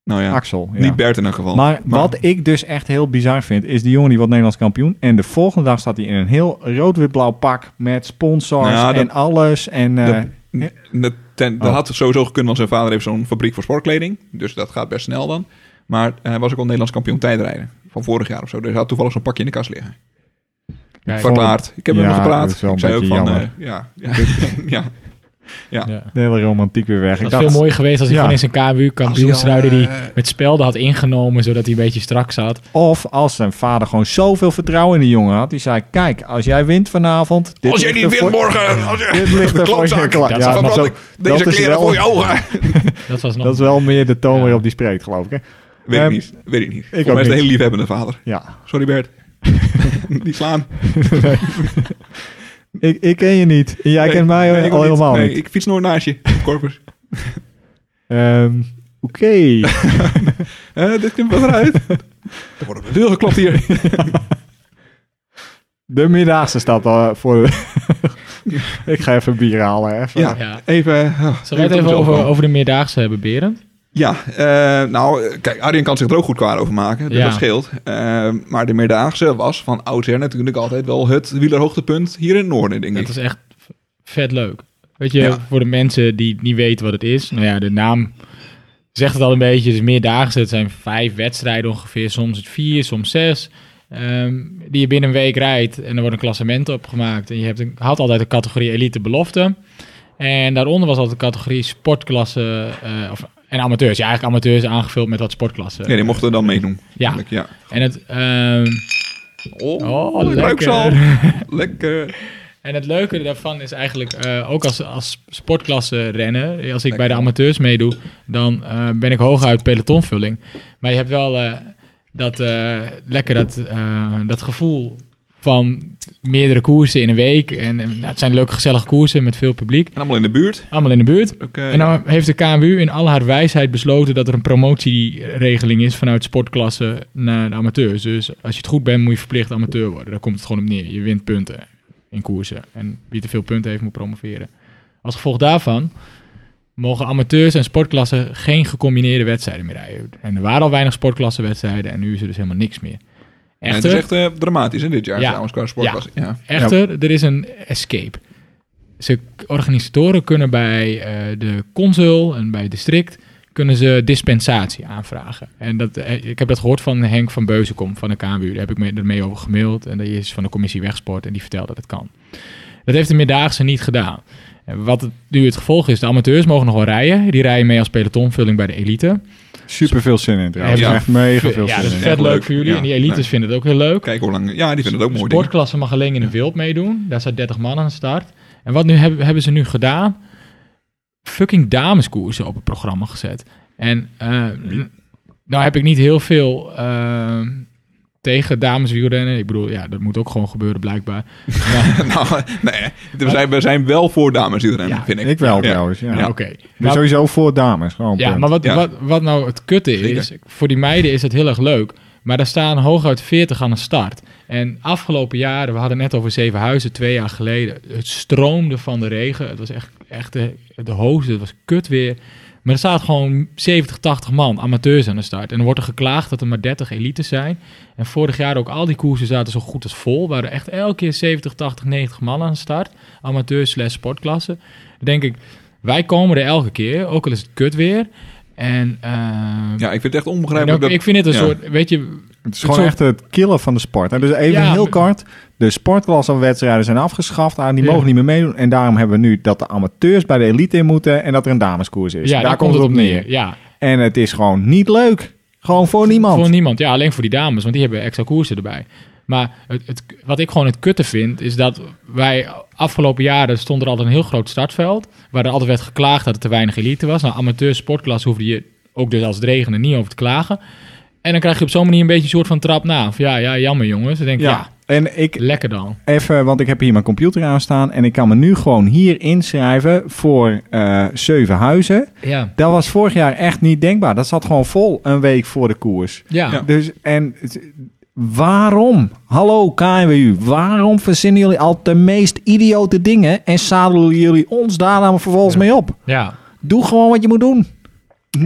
[SPEAKER 2] nou ja.
[SPEAKER 1] Axel. Ja.
[SPEAKER 2] Niet Bert in elk geval.
[SPEAKER 1] maar, wat ik dus echt heel bizar vind, is die jongen die wordt Nederlands kampioen. En de volgende dag staat hij in een heel rood-wit-blauw pak met sponsors
[SPEAKER 2] Nou, dat-
[SPEAKER 1] en alles. En, eh,
[SPEAKER 2] Dat, dat, ten- dat
[SPEAKER 1] Oh.
[SPEAKER 2] had sowieso gekund, want zijn vader heeft zo'n fabriek voor sportkleding. Dus dat gaat best snel dan. Maar hij was ook al Nederlands kampioen tijdrijden. Van vorig jaar of zo. Dus hij had toevallig zo'n pakje in de kast liggen.
[SPEAKER 3] Kijk,
[SPEAKER 1] Vond-
[SPEAKER 2] Verklaard. Ik heb
[SPEAKER 1] Ja,
[SPEAKER 2] hem
[SPEAKER 1] dat
[SPEAKER 2] gepraat.
[SPEAKER 1] is wel
[SPEAKER 2] Ik
[SPEAKER 1] een
[SPEAKER 2] zei ook
[SPEAKER 1] beetje
[SPEAKER 2] van...
[SPEAKER 1] jammer.
[SPEAKER 2] eh, ja, ja, ja. ja.
[SPEAKER 3] ja.
[SPEAKER 1] de hele romantiek weer weg.
[SPEAKER 3] Het was veel mooier geweest als hij
[SPEAKER 1] Ja.
[SPEAKER 3] gewoon in zijn KWU kampioensruiden
[SPEAKER 2] Als
[SPEAKER 3] die
[SPEAKER 2] hij al, eh,
[SPEAKER 3] met spelden had ingenomen, zodat hij een beetje strak zat.
[SPEAKER 1] Of als zijn vader gewoon zoveel vertrouwen in die jongen had. Die zei, kijk, als jij wint vanavond... dit
[SPEAKER 2] Als jij
[SPEAKER 1] ligt
[SPEAKER 2] niet
[SPEAKER 1] er voor-
[SPEAKER 2] wint morgen, eh, als jij
[SPEAKER 1] Dit ligt er voor je
[SPEAKER 2] klootzak,
[SPEAKER 1] klaar.
[SPEAKER 3] Dat
[SPEAKER 1] Ja,
[SPEAKER 3] is
[SPEAKER 1] maar
[SPEAKER 2] verbrand
[SPEAKER 1] zo-
[SPEAKER 2] ik deze
[SPEAKER 1] dat is
[SPEAKER 2] kleren
[SPEAKER 1] wel-
[SPEAKER 2] voor je ogen.
[SPEAKER 3] Dat was nog
[SPEAKER 1] Dat is wel meer de toon
[SPEAKER 3] Ja.
[SPEAKER 1] waarop die spreekt, geloof ik. Hè?
[SPEAKER 2] Weet
[SPEAKER 1] Ehm,
[SPEAKER 2] ik niet. Weet ik niet. Ik
[SPEAKER 1] ook
[SPEAKER 2] mij is het een
[SPEAKER 1] niet.
[SPEAKER 2] hele liefhebbende vader.
[SPEAKER 1] Ja.
[SPEAKER 2] Sorry Bert. die slaan.
[SPEAKER 1] Ik, ik ken je niet. En jij
[SPEAKER 2] Nee,
[SPEAKER 1] kent mij
[SPEAKER 2] nee, ik
[SPEAKER 1] al
[SPEAKER 2] ook niet.
[SPEAKER 1] helemaal
[SPEAKER 2] Nee,
[SPEAKER 1] niet.
[SPEAKER 2] Ik fiets nooit naast je, Corpus.
[SPEAKER 1] Ehm, Oké.
[SPEAKER 2] Eh, dit komt wel eruit. Er wordt op de deur geklopt hier.
[SPEAKER 1] De middagse staat al voor de... ik ga even bier halen. Even.
[SPEAKER 2] Ja,
[SPEAKER 3] Ja.
[SPEAKER 2] even... oh,
[SPEAKER 3] Zullen we het
[SPEAKER 2] komt
[SPEAKER 3] even
[SPEAKER 2] zo
[SPEAKER 3] over,
[SPEAKER 2] van.
[SPEAKER 3] over de meerdaagse hebben, Berend?
[SPEAKER 2] Ja, eh, nou, eh, kijk, Arjen kan zich er ook goed kwaad over maken. Dus
[SPEAKER 3] Ja.
[SPEAKER 2] dat scheelt. Eh, maar de Meerdaagse was van oudsher natuurlijk altijd wel het wielerhoogtepunt hier in het noorden, denk
[SPEAKER 3] Dat
[SPEAKER 2] ik.
[SPEAKER 3] is echt v- vet leuk. Weet je,
[SPEAKER 2] Ja.
[SPEAKER 3] voor de mensen die niet weten wat het is. Nou ja, de naam zegt het al een beetje. Het is meerdaagse. Het zijn vijf wedstrijden ongeveer. Soms het vier, soms zes. ehm, die je binnen een week rijdt. En er wordt een klassement opgemaakt. En je hebt een, had altijd de categorie elite belofte. En daaronder was altijd de categorie sportklasse. eh, of, en amateurs. Ja, eigenlijk amateurs aangevuld met wat sportklassen.
[SPEAKER 2] Ja, die mochten dan meedoen.
[SPEAKER 3] ja.
[SPEAKER 2] eigenlijk, ja.
[SPEAKER 3] En het... ehm,
[SPEAKER 2] Oh,
[SPEAKER 3] Oh,
[SPEAKER 2] ik ruik ze al. Lekker.
[SPEAKER 3] En het leuke daarvan is eigenlijk, eh, ook als, als sportklasse rennen, als ik bij de amateurs meedoe, dan eh, ben ik hooguit pelotonvulling. Maar je hebt wel eh, dat, eh, lekker dat, eh, dat gevoel van meerdere koersen in een week. En, en, nou, het zijn leuke, gezellige koersen met veel publiek.
[SPEAKER 2] allemaal in de buurt.
[SPEAKER 3] Allemaal in de buurt.
[SPEAKER 2] Ook,
[SPEAKER 3] Ja.
[SPEAKER 2] eh,
[SPEAKER 3] En nou heeft de KMU in al haar wijsheid besloten dat er een promotieregeling is vanuit sportklasse naar de amateurs. Dus als je het goed bent, moet je verplicht amateur worden. Daar komt het gewoon op neer. Je wint punten in koersen. En wie te veel punten heeft, moet promoveren. Als gevolg daarvan mogen amateurs en sportklassen geen gecombineerde wedstrijden meer rijden. En er waren al weinig sportklassenwedstrijden en nu is er dus helemaal niks meer.
[SPEAKER 2] ja, het
[SPEAKER 3] Echter,
[SPEAKER 2] is echt eh, dramatisch hè, dit jaar
[SPEAKER 3] Ja.
[SPEAKER 2] trouwens qua sportklasse. Ja.
[SPEAKER 3] Echter, er is een escape. Ze organisatoren kunnen bij eh, de consul en bij het district kunnen ze dispensatie aanvragen. En dat, eh, ik heb dat gehoord van Henk van Beuzenkom van de KMU. Daar heb ik mee, ermee over gemaild. En die is van de commissie Wegsport en die vertelt dat het kan. Dat heeft de Meerdaagse niet gedaan. En wat het- nu het gevolg is, de amateurs mogen nog wel rijden. Die rijden mee als pelotonvulling bij de elite.
[SPEAKER 1] Super veel zin in trouwens.
[SPEAKER 3] Ja.
[SPEAKER 1] Echt mega veel
[SPEAKER 3] ja,
[SPEAKER 1] zin
[SPEAKER 3] dat is
[SPEAKER 1] in.
[SPEAKER 2] Heel
[SPEAKER 3] vet leuk
[SPEAKER 2] leuk.
[SPEAKER 3] voor jullie.
[SPEAKER 2] Ja.
[SPEAKER 3] En die elites
[SPEAKER 2] Nee.
[SPEAKER 3] vinden het ook heel leuk.
[SPEAKER 2] Kijk hoe lang. Ja, die vinden het ook mooi. dingen.
[SPEAKER 3] sportklasse mag alleen in de wild meedoen. Daar staat 30 man aan de start. En wat nu hebben, hebben ze nu gedaan? Fucking dameskoersen op het programma gezet. En eh, n- nou heb ik niet heel veel eh, tegen dameswielrennen. Ik bedoel, ja, dat moet ook gewoon gebeuren blijkbaar. Maar,
[SPEAKER 2] nou, nee, we zijn, we zijn wel voor dames iedereen,
[SPEAKER 3] Ja,
[SPEAKER 2] vind ik.
[SPEAKER 1] Ik wel
[SPEAKER 2] Ja.
[SPEAKER 1] trouwens, ja.
[SPEAKER 3] ja, oké.
[SPEAKER 1] Dus
[SPEAKER 3] Maar-
[SPEAKER 1] sowieso voor dames, gewoon
[SPEAKER 3] Ja,
[SPEAKER 1] punt.
[SPEAKER 3] maar wat,
[SPEAKER 2] Ja.
[SPEAKER 3] Wat, wat nou het kutte is, voor die meiden is het heel erg leuk. Maar daar staan hooguit 40 aan de start. En afgelopen jaren, we hadden net over Zevenhuizen, twee jaar geleden. Het stroomde van de regen. Het was echt, echt de, de hoogste, het was kut weer. Maar er staat gewoon 70, 80 man, amateurs aan de start. En er wordt er geklaagd dat er maar 30 elites zijn. En vorig jaar ook al die koersen zaten zo goed als vol. Waren echt elke keer 70, 80, 90 man aan de start. Amateurs slash sportklasse. Dan denk ik, wij komen er elke keer, ook al is het kut weer. En, eh,
[SPEAKER 2] Ja, ik vind het echt
[SPEAKER 3] en
[SPEAKER 2] onbegrijpelijk
[SPEAKER 3] ook-
[SPEAKER 2] dat...
[SPEAKER 3] ik vind het een
[SPEAKER 2] ja.
[SPEAKER 3] soort, weet je,
[SPEAKER 1] Het is
[SPEAKER 3] Het
[SPEAKER 1] gewoon
[SPEAKER 3] is
[SPEAKER 1] echt het killen van de sport. En dus even
[SPEAKER 3] Ja,
[SPEAKER 1] heel
[SPEAKER 3] maar-
[SPEAKER 1] kort. De sportklassenwedstrijden zijn afgeschaft. Ah, die
[SPEAKER 3] Ja.
[SPEAKER 1] mogen niet meer meedoen. En daarom hebben we nu dat de amateurs bij de elite in moeten. En dat er een dameskoers is.
[SPEAKER 3] ja,
[SPEAKER 1] daar, komt het op neer.
[SPEAKER 3] Ja,
[SPEAKER 1] En het is gewoon niet leuk. Gewoon voor niemand.
[SPEAKER 3] Voor niemand, ja, alleen voor die dames, want die hebben extra koersen erbij. Maar het, het, wat ik gewoon het kutte vind, is dat wij afgelopen jaren stond er altijd een heel groot startveld. Waar er altijd werd geklaagd dat er te weinig elite was. Nou, amateur sportklas hoefde je ook dus als het regende niet over te klagen. En dan krijg je op zo'n manier een beetje een soort van trap na. Van ja, ja, jammer jongens. Dan denk ik,
[SPEAKER 1] ja.
[SPEAKER 3] ja,
[SPEAKER 1] en ik
[SPEAKER 3] lekker dan.
[SPEAKER 1] even, want ik heb hier mijn computer aan staan. En ik kan me nu gewoon hier inschrijven voor eh Zevenhuizen.
[SPEAKER 3] Ja,
[SPEAKER 1] Dat was vorig jaar echt niet denkbaar. Dat zat gewoon vol een week voor de koers.
[SPEAKER 3] ja.
[SPEAKER 2] Ja.
[SPEAKER 1] Dus en het- waarom? Hallo KNWU, waarom verzinnen jullie al de meest idiote dingen en zadelen jullie ons daar dan vervolgens mee op?
[SPEAKER 3] ja.
[SPEAKER 1] Doe gewoon wat je moet doen.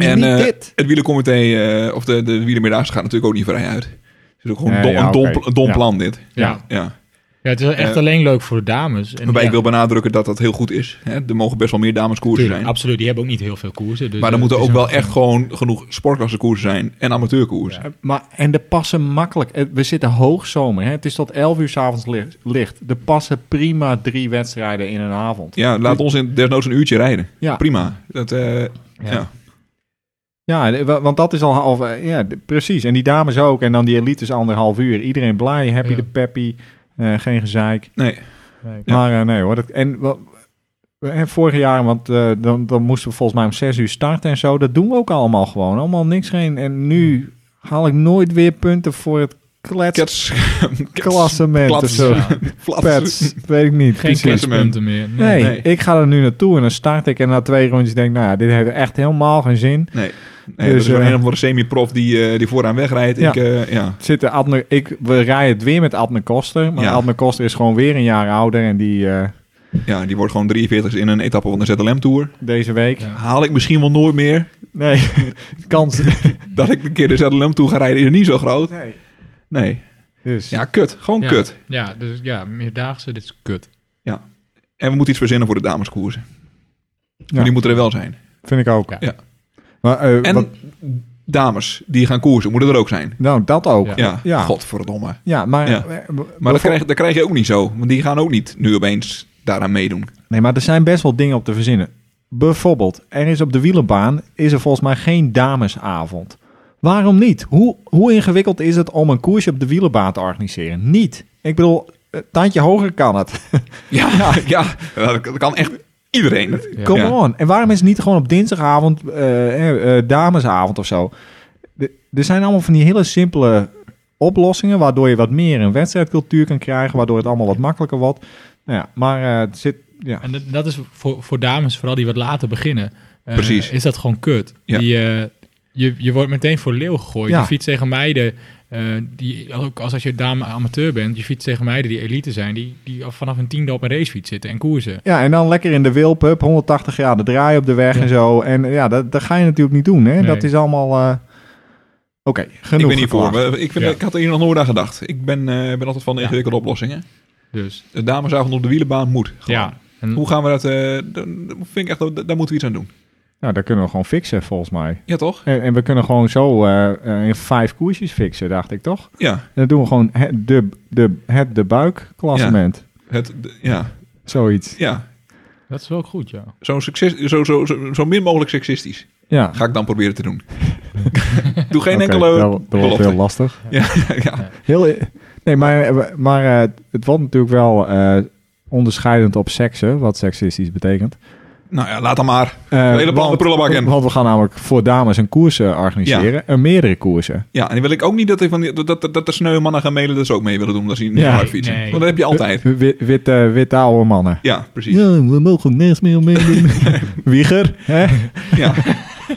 [SPEAKER 2] En
[SPEAKER 1] Niet
[SPEAKER 2] eh,
[SPEAKER 1] dit.
[SPEAKER 2] het wielercomité, eh, of de, de wielermiddaagse gaat natuurlijk ook niet vrij uit. Het is ook gewoon
[SPEAKER 1] Nee,
[SPEAKER 2] dom-
[SPEAKER 1] ja,
[SPEAKER 2] een dom,
[SPEAKER 1] oké.
[SPEAKER 2] dom
[SPEAKER 1] Ja.
[SPEAKER 2] plan dit.
[SPEAKER 3] Ja.
[SPEAKER 2] Ja.
[SPEAKER 3] Ja, het is echt
[SPEAKER 2] Eh,
[SPEAKER 3] alleen leuk voor de dames. En
[SPEAKER 2] Waarbij
[SPEAKER 3] ja,
[SPEAKER 2] ik wil benadrukken dat dat heel goed is. Hè? Er mogen best wel meer dameskoersen
[SPEAKER 3] tuurlijk,
[SPEAKER 2] zijn.
[SPEAKER 3] Absoluut, die hebben ook niet heel veel koersen. Dus
[SPEAKER 2] maar er
[SPEAKER 3] eh,
[SPEAKER 2] moeten
[SPEAKER 3] het
[SPEAKER 2] ook
[SPEAKER 3] is
[SPEAKER 2] wel
[SPEAKER 3] een-
[SPEAKER 2] echt gewoon genoeg sportklassekoersen zijn en amateurkoersen.
[SPEAKER 1] Eh, Maar, en de passen makkelijk. Eh, We zitten hoogzomer. Hè? Het is tot 11 uur s'avonds licht. De passen prima drie wedstrijden in een avond.
[SPEAKER 2] Ja, laat ons in, desnoods een uurtje rijden.
[SPEAKER 1] Ja.
[SPEAKER 2] Prima. Dat, eh, ja.
[SPEAKER 1] Ja, de- wa- want dat is al half... eh, Ja, de- precies. En die dames ook. En dan die elites anderhalf uur. Iedereen blij, happy
[SPEAKER 3] Ja.
[SPEAKER 1] de peppy. eh, geen gezeik.
[SPEAKER 2] Nee. Ja.
[SPEAKER 1] Maar eh, nee hoor. Dat, en wa- en vorig jaar, want eh, dan, dan moesten we volgens mij om zes uur starten en zo. Dat doen we ook allemaal gewoon. Allemaal niks geen. En nu haal ik nooit weer punten voor het klets
[SPEAKER 2] Kets.
[SPEAKER 1] klassement of
[SPEAKER 2] klats.
[SPEAKER 1] zo.
[SPEAKER 3] Ja,
[SPEAKER 1] Pets, weet ik niet.
[SPEAKER 3] geen
[SPEAKER 1] precies.
[SPEAKER 3] kletspunten meer. Nee.
[SPEAKER 1] Nee,
[SPEAKER 2] Nee.
[SPEAKER 1] ik ga er nu naartoe en dan start ik en na twee rondjes denk ik, nou ja, dit heeft echt helemaal geen zin.
[SPEAKER 2] Nee. nee
[SPEAKER 1] Dus,
[SPEAKER 2] dat is wel
[SPEAKER 1] eh,
[SPEAKER 2] een of andere semi-prof die, eh, die vooraan wegrijdt.
[SPEAKER 1] Ja.
[SPEAKER 2] Ik, eh, ja.
[SPEAKER 1] Zit de Adne, ik, we rijden het weer met Adne Koster, maar
[SPEAKER 2] Ja.
[SPEAKER 1] Adne Koster is gewoon weer een jaar ouder en die eh,
[SPEAKER 2] ja, die wordt gewoon 43 in een etappe van de ZLM-tour.
[SPEAKER 1] deze week,
[SPEAKER 3] Ja.
[SPEAKER 2] Haal ik misschien wel nooit meer.
[SPEAKER 1] nee, kans.
[SPEAKER 2] Dat ik een keer de ZLM-tour ga rijden is niet zo groot. Nee.
[SPEAKER 1] Dus,
[SPEAKER 2] Ja, kut. Gewoon
[SPEAKER 3] Ja.
[SPEAKER 2] kut.
[SPEAKER 3] Ja, dus ja, meerdaagse, dit is kut.
[SPEAKER 2] En we moeten iets verzinnen voor de dameskoersen.
[SPEAKER 1] Ja.
[SPEAKER 2] Die moeten er wel zijn.
[SPEAKER 1] vind ik ook.
[SPEAKER 2] Ja.
[SPEAKER 1] Maar, eh,
[SPEAKER 2] En
[SPEAKER 1] wat-
[SPEAKER 2] dames die gaan koersen, moeten er ook zijn.
[SPEAKER 1] nou, dat ook.
[SPEAKER 3] Ja.
[SPEAKER 2] Ja,
[SPEAKER 1] Ja.
[SPEAKER 2] godverdomme.
[SPEAKER 1] Ja, maar,
[SPEAKER 2] Ja.
[SPEAKER 1] eh,
[SPEAKER 2] Maar
[SPEAKER 1] bevo-
[SPEAKER 2] dat krijg, dat krijg je ook niet zo. Want die gaan ook niet nu opeens daaraan meedoen.
[SPEAKER 1] nee, maar er zijn best wel dingen op te verzinnen. Bijvoorbeeld, er is op de wielerbaan is er volgens mij geen damesavond. Waarom niet? Hoe, hoe ingewikkeld is het om een koersje op de wielerbaan te organiseren? Niet. Ik bedoel, een tandje hoger kan het.
[SPEAKER 2] Ja, ja. dat kan echt iedereen. Het.
[SPEAKER 3] Ja.
[SPEAKER 1] Come
[SPEAKER 2] Ja.
[SPEAKER 1] on. En waarom is het niet gewoon op dinsdagavond, eh, eh, eh, damesavond of zo? De- er zijn allemaal van die hele simpele oplossingen, waardoor je wat meer een wedstrijdcultuur kan krijgen, waardoor het allemaal wat makkelijker wordt. Nou ja, maar eh, het zit... Ja.
[SPEAKER 3] En dat, dat is voor, voor dames, vooral die wat later beginnen, eh,
[SPEAKER 2] Precies.
[SPEAKER 3] is dat gewoon kut.
[SPEAKER 2] Ja.
[SPEAKER 3] Die, eh, je, je wordt meteen voor leeuw gegooid.
[SPEAKER 1] Ja.
[SPEAKER 3] Je fietst tegen meiden, eh, die, ook als, als je dame amateur bent, je fietst tegen meiden die elite zijn, die, die al vanaf een tiende op een racefiets zitten en koersen.
[SPEAKER 1] ja, en dan lekker in de wilpup, 180 graden draai op de weg
[SPEAKER 3] Ja.
[SPEAKER 1] en zo. En eh, ja, dat, dat ga je natuurlijk niet doen, hè.
[SPEAKER 3] Nee.
[SPEAKER 1] Dat is allemaal... eh, Oké, genoeg
[SPEAKER 2] Ik ben hiervoor.
[SPEAKER 1] geklaagd.
[SPEAKER 2] We- Ik, vind,
[SPEAKER 3] Ja.
[SPEAKER 2] ik had er hier nog nooit aan gedacht. Ik ben, eh, ben altijd van de ingewikkelde oplossingen.
[SPEAKER 3] Dus
[SPEAKER 2] De damesavond op de wielenbaan moet. Gewoon.
[SPEAKER 3] ja. En-
[SPEAKER 2] Hoe gaan we dat... eh, dat- dat vind ik echt, dat- daar moeten we iets aan doen.
[SPEAKER 1] Nou, dat kunnen we gewoon fixen, volgens mij.
[SPEAKER 2] Ja, toch?
[SPEAKER 1] En, en we kunnen gewoon zo eh, eh, in vijf koersjes fixen, dacht ik, toch?
[SPEAKER 2] Ja.
[SPEAKER 1] En dan doen we gewoon het de, de, het de buik klassement.
[SPEAKER 2] Het, de- ja.
[SPEAKER 1] Zoiets.
[SPEAKER 2] ja.
[SPEAKER 3] dat is wel goed, ja.
[SPEAKER 2] Zo, succes, zo, zo, zo, zo min mogelijk seksistisch.
[SPEAKER 1] Ja.
[SPEAKER 2] Ga ik dan proberen te doen. Doe geen
[SPEAKER 1] Oké,
[SPEAKER 2] enkele
[SPEAKER 1] dat, dat wordt
[SPEAKER 2] belofte.
[SPEAKER 1] heel lastig.
[SPEAKER 2] Ja, ja.
[SPEAKER 1] Heel, nee, maar, maar eh, het wordt natuurlijk wel eh, onderscheidend op seksen, wat seksistisch betekent.
[SPEAKER 2] Nou ja, laat dan maar.
[SPEAKER 1] Eh,
[SPEAKER 2] hele plan de prullenbak in.
[SPEAKER 1] Want we gaan namelijk voor dames een koers eh, organiseren. En meerdere koersen.
[SPEAKER 2] Ja, en die wil ik ook niet dat, die van die, dat, dat, dat de sneu mannen gaan mailen dat ze ook mee willen doen. Dat ze niet
[SPEAKER 1] Ja.
[SPEAKER 2] hard fietsen.
[SPEAKER 3] Nee.
[SPEAKER 2] Want dat heb je altijd.
[SPEAKER 1] Wi- Wit, wit, eh, witte oude mannen.
[SPEAKER 2] Ja, precies.
[SPEAKER 1] Ja, we mogen niks meer meedoen. Wieger, hè?
[SPEAKER 2] Ja.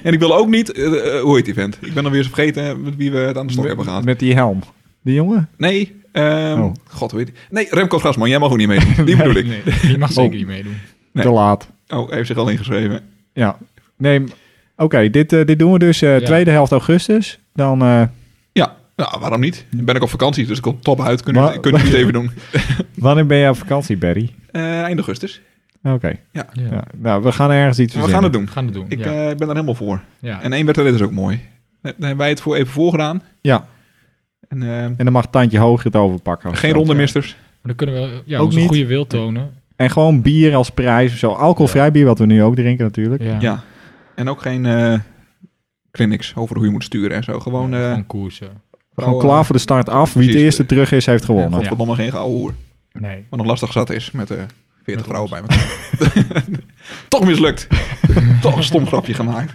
[SPEAKER 2] En ik wil ook niet, eh, eh, hoe heet die vent? Ik ben alweer eens vergeten met wie we het aan de stok hebben gehad.
[SPEAKER 1] Met die helm. Die jongen?
[SPEAKER 2] Nee, ehm,
[SPEAKER 1] Oh.
[SPEAKER 2] god weet ik. Nee, Remco Grasman, jij mag ook niet meedoen. Die bedoel ik.
[SPEAKER 3] Nee, die mag zeker
[SPEAKER 1] Oh.
[SPEAKER 3] niet meedoen.
[SPEAKER 2] Nee.
[SPEAKER 1] Te laat.
[SPEAKER 2] Oh, hij heeft zich al ingeschreven.
[SPEAKER 1] Ja. Nee, m- oké. dit, eh, dit doen we dus eh,
[SPEAKER 3] Ja.
[SPEAKER 1] tweede helft augustus. Dan, eh,
[SPEAKER 2] Ja, nou, waarom niet? Dan ben ik op vakantie, dus ik kom top uit. Kunnen
[SPEAKER 1] Maar-
[SPEAKER 2] jullie kunnen jullie het even doen?
[SPEAKER 1] wanneer ben je op vakantie, Barry?
[SPEAKER 2] Eh, eind augustus.
[SPEAKER 1] Oké.
[SPEAKER 3] Ja.
[SPEAKER 1] Ja. Nou, we gaan ergens iets
[SPEAKER 2] we gaan het doen.
[SPEAKER 3] Gaan we doen.
[SPEAKER 2] Ik
[SPEAKER 3] ja.
[SPEAKER 2] eh, ben daar helemaal voor.
[SPEAKER 3] ja.
[SPEAKER 2] En één wedstrijd is ook mooi. Daar hebben wij het voor even voor gedaan.
[SPEAKER 1] Ja. Oh,
[SPEAKER 2] En, eh,
[SPEAKER 1] En dan mag Tandje Hoger het overpakken. of
[SPEAKER 2] geen
[SPEAKER 1] zo.
[SPEAKER 2] rondemisters.
[SPEAKER 3] Maar dan kunnen we ja,
[SPEAKER 1] Ook
[SPEAKER 3] onze
[SPEAKER 1] niet.
[SPEAKER 3] goede wil tonen.
[SPEAKER 1] En gewoon bier als prijs of zo. Alcoholvrij bier, wat we nu ook drinken natuurlijk.
[SPEAKER 3] Ja.
[SPEAKER 2] Ja. En ook geen eh, clinics over hoe je moet sturen en zo. Gewoon, eh
[SPEAKER 3] Gewoon koersen.
[SPEAKER 1] Gewoon
[SPEAKER 2] Oh,
[SPEAKER 1] klaar voor de start af. Wie het
[SPEAKER 2] precies.
[SPEAKER 1] eerste terug is, heeft gewonnen.
[SPEAKER 3] Ja.
[SPEAKER 2] godverdomme, geen gouden hoer.
[SPEAKER 3] Nee.
[SPEAKER 2] Wat nog lastig zat is met eh 40 vrouwen bij elkaar. Toch mislukt. Toch een stom grapje gemaakt.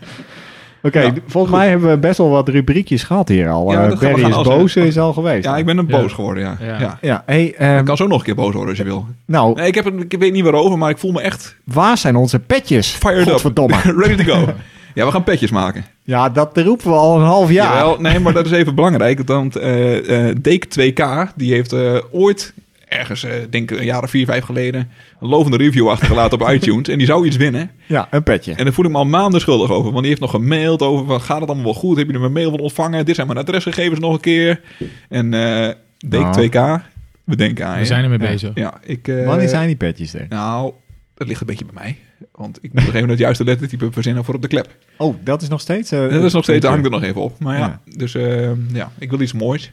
[SPEAKER 1] Oké,
[SPEAKER 2] Ja,
[SPEAKER 1] d- volgens mij hebben we best wel wat rubriekjes gehad hier al.
[SPEAKER 2] Ja, maar
[SPEAKER 1] Eh
[SPEAKER 2] dat gaan we
[SPEAKER 1] Barry
[SPEAKER 2] gaan
[SPEAKER 1] is
[SPEAKER 2] als-
[SPEAKER 1] boos, is al geweest.
[SPEAKER 2] Ja, ik ben een
[SPEAKER 3] Ja.
[SPEAKER 2] boos geworden, ja. ja.
[SPEAKER 3] Ja.
[SPEAKER 1] Ja, hey, ehm,
[SPEAKER 2] Ik kan zo nog een keer boos worden als je wil.
[SPEAKER 1] nou,
[SPEAKER 2] Nee, ik, heb het, ik weet niet waarover, maar ik voel me echt
[SPEAKER 1] waar zijn onze petjes?
[SPEAKER 2] fired
[SPEAKER 1] Godverdomme.
[SPEAKER 2] up. Ready to go. Ja, we gaan petjes maken.
[SPEAKER 1] Ja, dat roepen we al een half jaar.
[SPEAKER 2] Jawel, nee, maar dat is even belangrijk. Want eh eh Deek 2K, die heeft eh, ooit, ergens, eh, denk ik een jaar of vier, vijf geleden, een lovende review achtergelaten op iTunes. En die zou iets winnen.
[SPEAKER 1] Ja, een petje.
[SPEAKER 2] En daar voel ik me al maanden schuldig over. Want die heeft nog gemaild over, van, gaat het allemaal wel goed? Heb je er mijn mail van ontvangen? Dit zijn mijn adresgegevens nog een keer. En eh
[SPEAKER 1] Nou.
[SPEAKER 2] Deek 2K, we denken aan
[SPEAKER 3] We
[SPEAKER 2] je.
[SPEAKER 3] zijn ermee
[SPEAKER 1] Ja.
[SPEAKER 3] bezig.
[SPEAKER 2] Ja, ik... eh,
[SPEAKER 1] Wanneer zijn die petjes er?
[SPEAKER 2] Nou, dat ligt een beetje bij mij. Want ik moet op een gegeven moment het juiste lettertype verzinnen voor op de klep.
[SPEAKER 1] Oh, dat is nog steeds. eh,
[SPEAKER 2] Dat is nog steeds,
[SPEAKER 1] een
[SPEAKER 2] daar hangt er nog even op. Maar ja,
[SPEAKER 1] Ja.
[SPEAKER 2] dus ehm, ja, ik wil iets moois.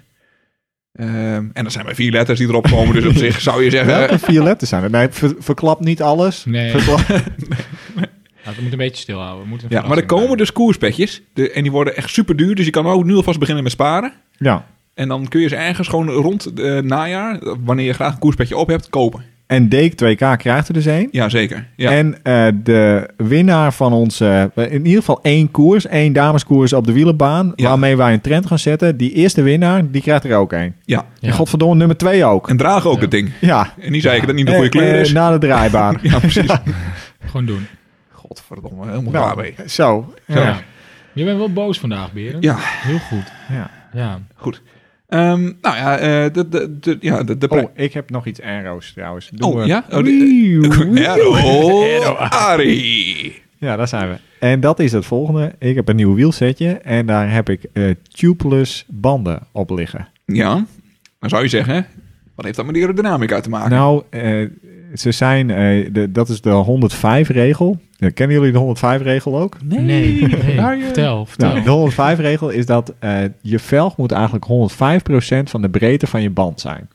[SPEAKER 2] Ehm, en er zijn maar vier letters die erop komen, dus op zich zou je zeggen...
[SPEAKER 1] Welke vier letters zijn er? Nee, ver- verklap niet alles.
[SPEAKER 3] Nee.
[SPEAKER 1] Verklap-
[SPEAKER 3] Ja, Nou, we moeten een beetje stilhouden. We moeten een
[SPEAKER 2] Ja, maar er
[SPEAKER 3] verrassing
[SPEAKER 2] komen
[SPEAKER 3] bij.
[SPEAKER 2] dus koerspetjes de, en die worden echt super duur, dus je kan ook nu alvast beginnen met sparen.
[SPEAKER 1] Ja.
[SPEAKER 2] En dan kun je ze ergens gewoon rond het najaar, wanneer je graag een koerspetje op hebt, kopen.
[SPEAKER 1] En Deek 2K krijgt er dus één.
[SPEAKER 2] Ja, zeker. Ja.
[SPEAKER 1] En eh, de winnaar van onze, eh, in ieder geval één koers, één dameskoers op de wielenbaan,
[SPEAKER 2] Ja.
[SPEAKER 1] waarmee wij een trend gaan zetten. Die eerste winnaar, die krijgt er ook één.
[SPEAKER 2] ja.
[SPEAKER 3] Ja.
[SPEAKER 1] En godverdomme, nummer twee ook.
[SPEAKER 2] en draag ook
[SPEAKER 3] Ja.
[SPEAKER 2] het ding.
[SPEAKER 1] Ja.
[SPEAKER 2] En niet zei ik dat het niet de goede
[SPEAKER 1] Eh,
[SPEAKER 2] kleur
[SPEAKER 1] eh,
[SPEAKER 2] is.
[SPEAKER 1] Na de draaibaan.
[SPEAKER 2] ja, precies.
[SPEAKER 3] Gewoon doen.
[SPEAKER 2] Godverdomme, helemaal klaar
[SPEAKER 1] nou,
[SPEAKER 2] mee.
[SPEAKER 1] zo.
[SPEAKER 2] Zo.
[SPEAKER 1] Ja.
[SPEAKER 3] Ja. Je bent wel boos vandaag, Beren.
[SPEAKER 2] Ja.
[SPEAKER 3] Heel goed.
[SPEAKER 1] Ja.
[SPEAKER 3] Ja.
[SPEAKER 2] Goed. Ehm, nou ja, eh, de, de, de, ja, de, de
[SPEAKER 1] Oh, ik heb nog iets aero's trouwens. Doen
[SPEAKER 2] Oh,
[SPEAKER 1] we-
[SPEAKER 2] ja? Oh,
[SPEAKER 1] Wieuw, wieuw.
[SPEAKER 2] Nero Ari.
[SPEAKER 1] Ja, daar zijn we. En dat is het volgende. Ik heb een nieuw wielsetje en daar heb ik eh tubeless banden op liggen.
[SPEAKER 2] Ja, dan zou je zeggen, wat heeft dat met aerodynamica te maken?
[SPEAKER 1] Nou, eh, ze zijn, eh, de, dat is de 105-regel. kennen jullie de 105-regel ook?
[SPEAKER 3] Nee. nee.
[SPEAKER 2] Daar je-
[SPEAKER 3] Vertel, vertel.
[SPEAKER 1] Nou, de 105-regel is dat eh, je velg moet eigenlijk 105% van de breedte van je band zijn.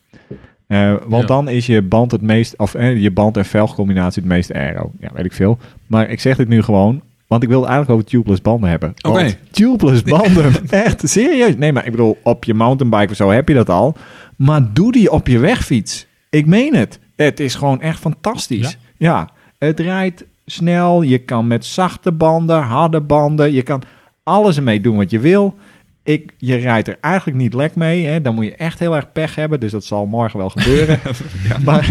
[SPEAKER 1] Eh, want
[SPEAKER 3] Ja.
[SPEAKER 1] dan is je band het meest, of eh, je band en velgcombinatie het meest aero. Ja, weet ik veel. Maar ik zeg dit nu gewoon, want ik wil het eigenlijk over tubeless banden hebben.
[SPEAKER 2] Oké.
[SPEAKER 1] Want Tubeless banden, echt serieus. Nee, maar ik bedoel, op je mountainbike of zo heb je dat al. Maar doe die op je wegfiets. Ik meen het. Het is gewoon echt fantastisch. Ja,
[SPEAKER 3] Ja?
[SPEAKER 1] het rijdt snel. Je kan met zachte banden, harde banden. Je kan alles ermee doen wat je wil. Ik, je rijdt er eigenlijk niet lek mee. Hè. Dan moet je echt heel erg pech hebben. Dus dat zal morgen wel gebeuren. Maar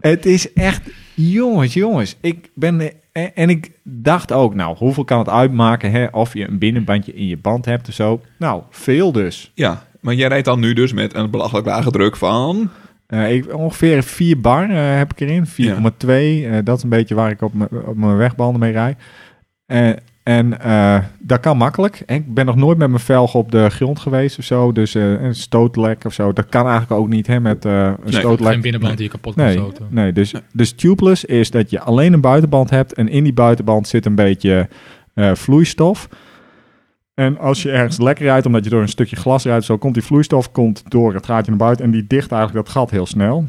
[SPEAKER 1] het is echt... Jongens, jongens. Ik ben... En, en ik dacht ook, nou, hoeveel kan het uitmaken hè, of je een binnenbandje in je band hebt of zo? Nou, veel dus.
[SPEAKER 2] Ja, maar jij rijdt dan nu dus met een belachelijk lage druk van...
[SPEAKER 1] Eh, ik, ongeveer 4 bar eh, heb ik erin. 4,2. eh, dat is een beetje waar ik op mijn- op mijn wegbanden mee rij. Eh, en eh, dat kan makkelijk. En ik ben nog nooit met mijn velg op de grond geweest of zo. Dus eh, een stootlek of zo. Dat kan eigenlijk ook niet hè, met eh, een
[SPEAKER 2] Nee,
[SPEAKER 1] stootlek.
[SPEAKER 3] Geen binnenband die je kapot kan
[SPEAKER 1] Nee,
[SPEAKER 3] stoten.
[SPEAKER 1] nee dus,
[SPEAKER 2] Nee.
[SPEAKER 1] dus tubeless is dat je alleen een buitenband hebt en in die buitenband zit een beetje eh, vloeistof. En als je ergens lekker rijdt, omdat je door een stukje glas rijdt, zo komt die vloeistof komt door het gaatje naar buiten en die dicht eigenlijk dat gat heel snel.